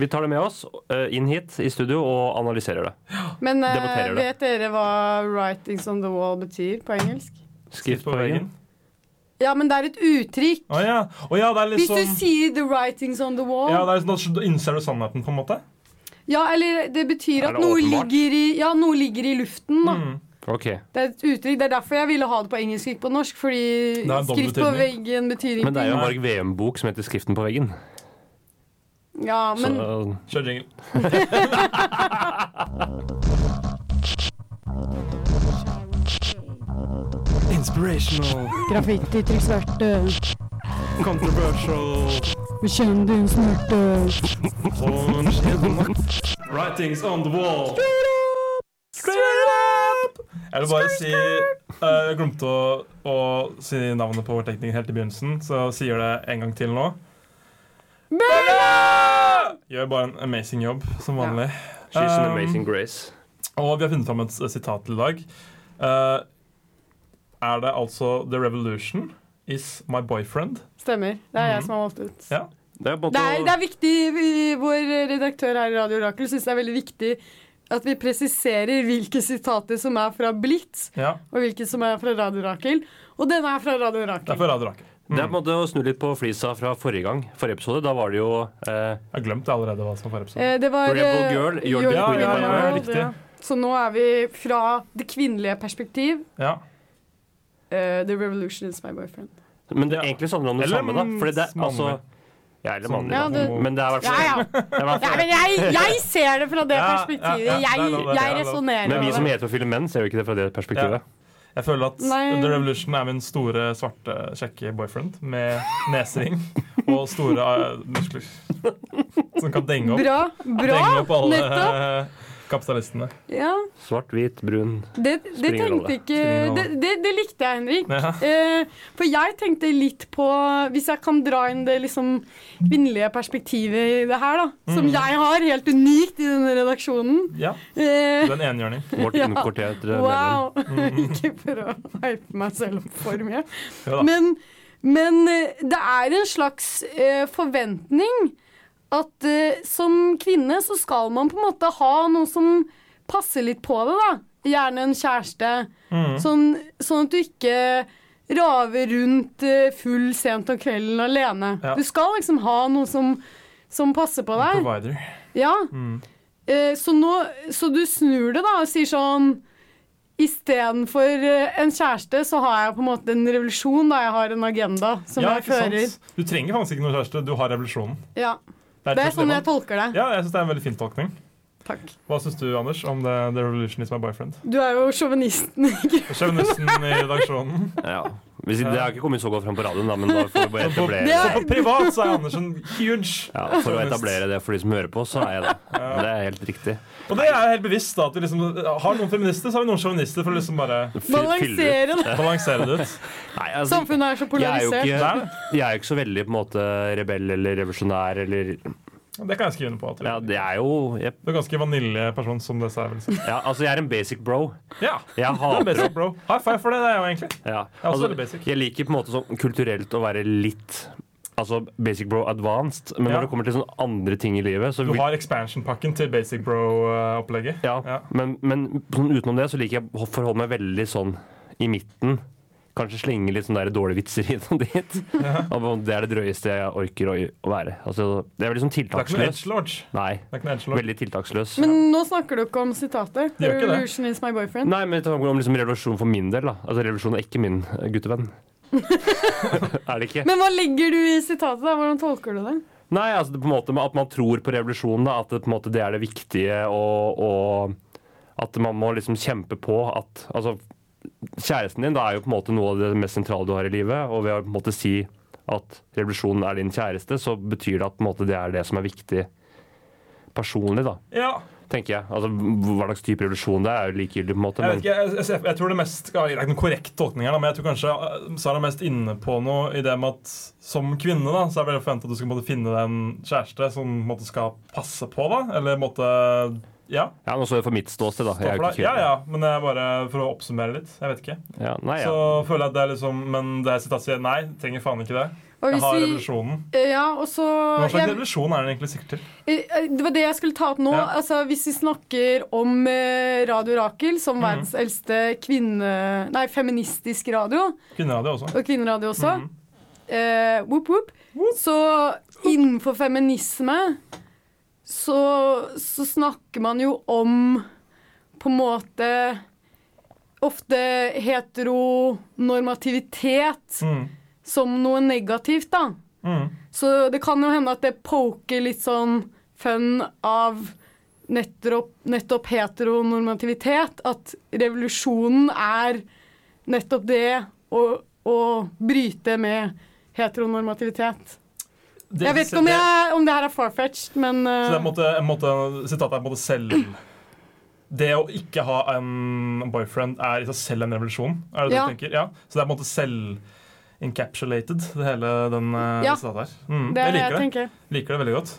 D: Vi tar det med oss eh, inn hit i studio og analyserer det.
C: Men eh,
D: Debatterer det.
C: vet dere hva 'writings on the wall' betyr på engelsk?
D: Skrift på veggen.
C: Ja, men det er et uttrykk.
B: Å ja. Å ja, det er
C: Hvis
B: liksom
C: du sier 'the writings on the wall',
B: ja,
C: ja,
B: det er liksom, Da innser du sannheten, på en måte?
C: eller det betyr
D: Er
C: at
D: det
C: noe
D: åpenbart?
C: ligger, i, ja, noe ligger i luften, da.
B: Mm.
D: Ok.
C: Det er et uttrykk. Det er derfor jeg ville ha det på engelsk, ikke på norsk. Fordi
B: Det er en dobbel
C: skrift på
B: betydning.
C: veggen betyr
D: Men det er jo
C: ingenting.
D: en Varg Veum-bok som heter 'Skriften på veggen'.
C: Ja, men
D: Så uh,
B: Kjør jingle. Inspirational.
C: eh,
B: Graffiti-trykksverte. Controversial. Kjendisnerte. Writings on the wall. Jeg vil bare si eh, Jeg glemte å, å si navnet på vår tekniker helt i begynnelsen, så jeg sier det en gang til nå. Gjør bare en amazing jobb, som vanlig.
D: She's an
B: Um,
D: amazing grace.
B: Og vi har funnet fram et s- sitat til i dag. Eh, er det altså The Revolution is my boyfriend?
C: stemmer. Det er jeg som har valgt ut.
B: Mm. Ja.
D: Det er på en
C: Det er, det
D: måte
C: er viktig, vi- vår redaktør her i Radio Orakel syns det er veldig viktig at vi presiserer hvilke sitater som er fra Blitz,
B: ja.
C: og hvilke som er fra Radio Orakel. Og denne er fra Radio
B: Det Mm. er
C: Orakel.
B: for Radio Rakel.
D: det er på en måte å snu litt på flisa fra forrige gang. Forrige episode, Da var det jo eh,
B: Jeg har glemt allerede hva som var forrige episode.
C: Eh, Det var
D: Rebel
C: eh,
D: Girl, You're the
B: Ja,
D: Queen
B: ja,
D: of my
B: ja,
D: World.
B: riktig.
C: Så nå er vi fra det kvinnelige perspektiv.
B: Ja.
C: eh, the revolution is my boyfriend.
D: Men det
B: Ja.
D: egentlig handler om det
B: Eller
D: samme, da. Fordi det,
B: mannlig.
D: altså, ja, eller mannlig, da.
C: Ja, det-
D: Men det er i hvert
C: Ja,
D: fall
C: ja.
D: det er i hvert
C: ja
D: fall-
C: men jeg, jeg ser det fra det
B: Ja, ja,
C: perspektivet.
B: ja, det er
C: Jeg,
B: lov, det er
C: jeg
B: lov.
C: resonnerer
D: Men vi som
C: det.
D: heterofile menn ser jo ikke det fra det perspektivet.
B: Jeg føler at
C: Nei.
B: The Revolution er min store, svarte, kjekke boyfriend med nesering og store eh, muskler. Som kan denge opp,
C: Bra.
B: denge
C: bra.
B: opp alle
C: Nettopp.
B: eh, kapitalistene.
C: Ja,
D: Svart, hvit, brun.
C: det, det
D: Spiller ingen rolle.
C: tenkte ikke
B: Spiller ingen
C: det,
B: rolle.
C: det, det likte jeg, Henrik.
B: Ja.
C: Eh, for jeg tenkte litt på Hvis jeg kan dra inn det liksom kvinnelige perspektivet i det her, da. Som jeg har, helt unikt i denne redaksjonen.
B: Ja,
C: Eh,
B: du er en enhjørning.
D: Vårt eh,
C: Ja.
D: innkvarterte medlem.
C: Wow! Ikke prøv å hype meg selv opp for mye.
B: Jo Mm. da.
C: Men, men eh, det er en slags eh, forventning at eh, som kvinne så skal man på en måte ha noe som passe litt på det, da. Gjerne en kjæreste.
B: Mhm.
C: Sånn, sånn at du ikke raver rundt eh, full sent om kvelden alene.
B: Ja.
C: Du skal liksom ha noen som, som passer på deg.
B: Provider.
C: Ja.
B: Mm.
C: Eh, så, nå, så du snur det, da, og sier sånn Istedenfor eh, en kjæreste, så har jeg på en måte en revolusjon, da. Jeg har en agenda som
B: Ja,
C: jeg
B: ikke sant?
C: fører.
B: Du trenger faktisk ikke noen kjæreste, du har revolusjonen.
C: Ja.
B: Det rett
C: Det er
B: og slett
C: sånn
B: man-
C: jeg tolker det.
B: Ja, jeg syns det er en veldig fin tolkning.
C: Takk.
B: Hva syns du, Anders, om The, the Revolution Is My Boyfriend?
C: Du er jo sjåvinisten.
B: Sjøvnissen i redaksjonen.
D: Ja. Hvis, det har ikke kommet så godt fram på radioen, da, men da får vi bare
B: Så på,
D: etablere
B: så på privat så er Andersen huge.
D: ja, For å etablere det for de som hører på, så er jeg det. Det er helt riktig.
B: Og det er jeg helt bevisst, da. At vi liksom har noen feminister, så har vi noen sjåvinister. For å liksom bare
D: Fy- fyller ut.
C: Balansere det.
B: balansere det ut.
D: Nei, altså,
C: Samfunnet er så
D: jeg er, jo
C: polarisert.
D: ikke, jeg er jo ikke så veldig på en måte rebell eller revolusjonær eller
B: Det kan jeg skrive under på. At du,
D: Ja, det er jo jeg,
B: du er en ganske vanilje person, som det er vel si.
D: ja, Altså, jeg er en basic bro.
B: Ja.
D: Jeg
B: Det er
D: hater
B: basic, bro. High five for det, det er jo egentlig.
D: Ja.
B: er også
D: Altså,
B: veldig basic.
D: jeg liker på en måte sånn kulturelt å være litt Altså basic bro advanced, men
B: Ja.
D: når det kommer til sånn andre ting i livet så
B: Du
D: vil,
B: har expansion-pakken til basic bro-opplegget.
D: ja, Men, men sånn utenom det så liker jeg å forholde meg veldig sånn i midten. Kanskje slenge litt sånne der dårlige vitser hit og dit. Og Det er det drøyeste jeg orker å, å være. Altså, det er veldig sånn
B: Det er ikke noe
D: tiltaksløs.
B: edgelorge.
D: Nei,
B: Det er ikke noe edgelord.
D: veldig tiltaksløs.
C: Men nå snakker du ikke om sitater.
B: Det gjør ikke det.
C: Revolution is my boyfriend.
D: Nei, men det handler om liksom revolusjon for min del. Da. Altså, revolusjon er ikke min eh, guttevenn. er det ikke?
C: Men hva legger du i sitatet? da? Hvordan tolker du det?
D: Nei, altså det på en måte med at man tror på revolusjonen, da, at det, på en måte, det er det viktige, og, og at man må liksom kjempe på at altså, Kjæresten din da er jo på en måte noe av det mest sentrale du har i livet, og ved å på en måte si at revolusjonen er din kjæreste, så betyr det at på en måte, det er det som er viktig personlig, da,
B: Ja.
D: tenker jeg. Altså, Hva slags type revolusjon det er, er jo likegyldig, på en måte.
B: Jeg, vet
D: Men,
B: ikke, jeg, jeg, jeg tror det mest ja, Det er ikke noen korrekt tolkning her, da, men jeg tror kanskje eh, Sara er mest inne på noe i det med at som kvinne da, så er det vel forventet at du skal måtte finne deg en kjæreste som måtte skal passe på, da? Eller måtte Ja.
D: ja, nå så jeg for mitt ståsted, da.
B: Stå
D: Jeg er
B: for
D: jo ikke
B: deg. Ja, ja, men det er bare for å oppsummere litt. Jeg vet ikke.
D: kvinne. Ja, nei, ja.
B: Så føler jeg at det er liksom Men det er sitatet sier nei, trenger faen ikke det.
C: Og
B: Jeg
C: hvis
B: har
C: vi,
B: revolusjonen.
C: ja, og så
B: Hva slags
C: jeg,
B: revolusjon er den egentlig sikter til?
C: eh, Det var det jeg skulle ta opp nå.
B: Ja.
C: Altså, hvis vi snakker om eh, Radio Rakel som verdens eldste kvinne... Nei, feministisk radio,
B: Kvinneradio også.
C: og kvinneradio også, eh, whoop, whoop. så innenfor feminisme så, så snakker man jo om på en måte ofte heteronormativitet
B: Mm.
C: som noe negativt, da.
B: Mm.
C: Så det kan jo hende at det poker litt sånn fun av nettopp, nettopp heteronormativitet. At revolusjonen er nettopp det å, å bryte med heteronormativitet.
B: Det-
C: Jeg vet ikke om, jeg, om det her er far-fetched, men
B: Så det er en
C: eh,
B: måte, en måte, sitatet er på en måte selv Det å ikke ha en boyfriend er i seg selv en revolusjon. Er det det
C: Ja.
B: du tenker? Ja. Så det er på en måte selv encapsulated, det hele den eh,
C: Ja.
B: sitatet her. Mm,
C: det
B: jeg
C: er det jeg
B: liker det.
C: tenker. Mm.
B: liker det veldig godt.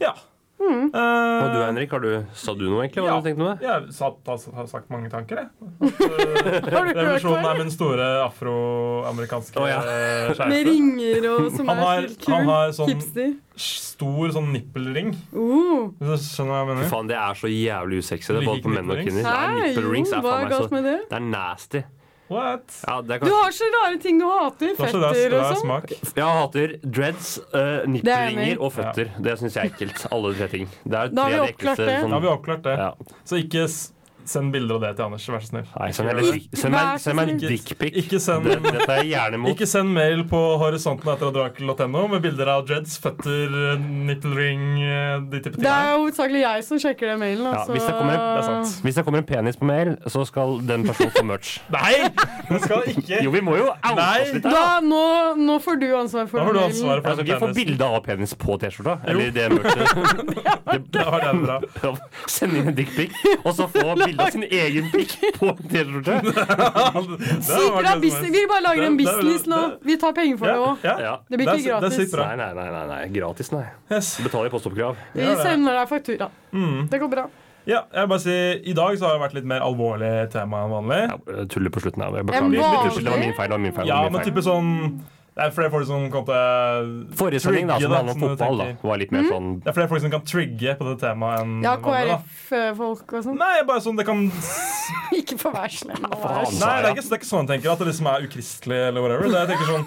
B: Ja. Eh,
D: Og du, Henrik, har du, sa du noe, egentlig? Hva
B: Ja.
D: hadde du tenkt om det?
B: Jeg sa- har har sagt mange tanker, jeg. At, eh,
C: Har du ikke hørt
B: revolusjonen
C: før?
B: er min store afroamerikanske
D: Å, ja.
B: eh,
C: Med
B: kjæreste.
C: ringer og som
B: Han har-
C: er helt kul.
B: han har sånn-
C: Hipster.
B: Stor sånn nippelring.
C: Oh.
B: Hvis du skjønner hva
D: Fy
B: jeg mener?
D: faen, det er så jævlig usexy,
B: Du
D: det,
B: liker
D: både på
B: ikke
D: menn og
B: nipple rings?
D: kvinner. Nei,
C: Nei,
D: nipple
C: jo,
D: rings er
C: hva
D: faen
C: er
D: meg
C: galt
D: så
C: med det?
D: Det er nasty.
B: What?
D: Ja, det er
C: Du
D: kanskje
C: har så rare ting du hater.
B: Det er så- det er-
C: Fetter
B: det
C: og
B: er
C: sånn.
B: smak.
D: Jeg hater dreads, uh,
C: Det er jeg enig i.
D: nippelringer og føtter. Det syns jeg er ekkelt. Alle tre ting. Det er
C: Da har
D: tre
C: vi
D: av de
C: oppklart
D: ekleste
B: Da har vi
D: sånn,
B: oppklart det.
D: ja.
B: Så ikke s- send bilder av det til Anders, vær så snill.
D: Nei, send,
B: Ikke
D: heller,
B: gjør det.
D: send meg,
C: Vær så
D: send meg en
C: snill.
D: dickpic.
B: Ikke send-
D: Det, det tar jeg gjerne imot.
B: Ikke send mail på horisonten etter adrakel.no med bilder av dreads, føtter, nipple ring eh, de type
C: Det er
B: tingene.
C: jo hovedsakelig jeg som sjekker den mailen.
D: Ja,
C: altså.
D: hvis, det kommer en,
B: Det er sant.
D: hvis det kommer en penis på mail, så skal den personen få merch.
B: Nei! Du skal ikke
D: Jo, vi må jo oute
B: Nei.
D: oss litt her. da.
C: Da, nå, nå får du ansvar for
B: Da får du
C: den mailen.
B: ansvaret
D: Jeg
B: for
D: skal
B: den
D: ikke få
B: penisen.
D: bilde av penis på T-skjorta.
B: Jo.
D: Eller det merchet.
B: Det var det bra.
D: Send inn en dickpic, og så få bilde av sin egen pikk på en T-skjorte.
C: Sikkert det er business. Vi bare lager
B: Det-
C: en
B: det er vel-
C: business nå.
B: det-
C: Vi tar penger for det òg.
B: Ja, ja.
D: Ja.
C: Det blir
B: er
C: ikke
B: sy- Det er sykt
C: gratis.
B: bra.
D: Nei, nei, nei, nei, nei. Gratis, nei.
B: Yes.
D: Betaler postoppkrav.
C: Vi
B: Ja, det Mm. er-
C: sender deg faktura. Det går bra.
B: Ja, jeg vil bare si, I dag så har det vært litt mer alvorlig tema enn vanlig.
D: Ja, jeg tuller på slutten her. Jeg
C: En
D: beklager. Jeg
C: vanlig-
D: tusler, Det var min feil. Det var min feil. det
B: Ja,
D: var min
B: men
D: feil.
B: type sånn Det er flere folk som kan på
D: Forrige sending da, som handlet om fotball, da, var litt mer sånn
B: Det er flere folk som kan trigge på det temaet enn
C: Ja,
B: vanlig, da.
C: KrF-folk og sånn.
B: Nei, bare sånn det kan Nei,
C: Ikke for å være slem. nå,
D: faen.
C: æsj.
B: det er ikke, det er ikke sånn jeg tenker. At det liksom er ukristelig eller whatever. Det er, jeg tenker sånn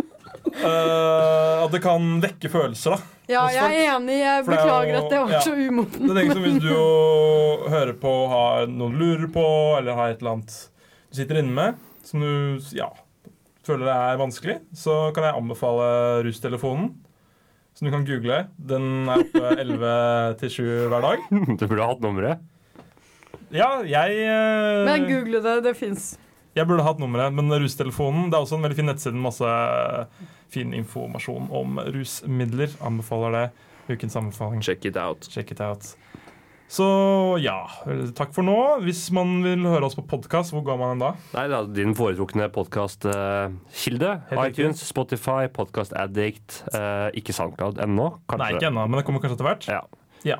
B: eh, At det kan vekke følelser, da.
C: Ja, jeg er enig.
B: altså,
C: Jeg
B: For det er jo-
C: beklager at det
B: ja.
C: var så umoden.
B: Det er liksom Hvis du hører på, har noe du lurer på, eller har et eller annet du sitter inne med som du ja, føler er vanskelig, så kan jeg anbefale Rustelefonen. Som du kan google. Den er oppe 11 til 7 hver dag.
D: Du burde ha hatt nummeret.
B: Ja, jeg eh,
C: Men google det. Det fins.
B: Jeg burde hatt nummeret, men rustelefonen Det er også en veldig fin nettside med masse fin informasjon om rusmidler. Anbefaler det. Ukens anbefaling.
D: Check it out.
B: Check it out. Så ja, takk for nå. Hvis man vil høre oss på podkast, hvor går man hen da?
D: Nei, da, din foretrukne podkastkilde.
B: Helt riktig.
D: iTunes, Spotify, Podcast Addict. eh, ikke SoundCloud ennå, kanskje.
B: Nei, ikke ennå, men det kommer kanskje etter hvert.
D: Ja.
B: Ja.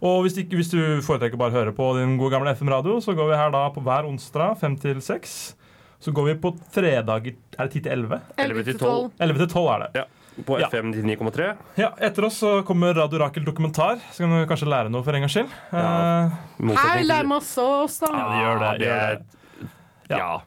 B: Og hvis, ikke, hvis du foretrekker bare å høre på din gode gamle FM-radio, så går vi her da på hver onsdag fem til seks. Så går vi på tredager Er det ti til elleve?
D: 11 til 12.
B: Elleve til tolv er det.
D: På
B: Ja.
D: FM 99,3.
B: Ja, Etter oss så kommer Radio Rakel dokumentar. Så kan du kanskje lære noe for en gangs skyld.
D: Ja.
B: Eh,
D: Motsetning
C: Her
D: til-
C: lærer masse oss, da.
B: Ja, det gjør
D: Ja,
B: det,
D: det
B: gjør
D: er- Ja.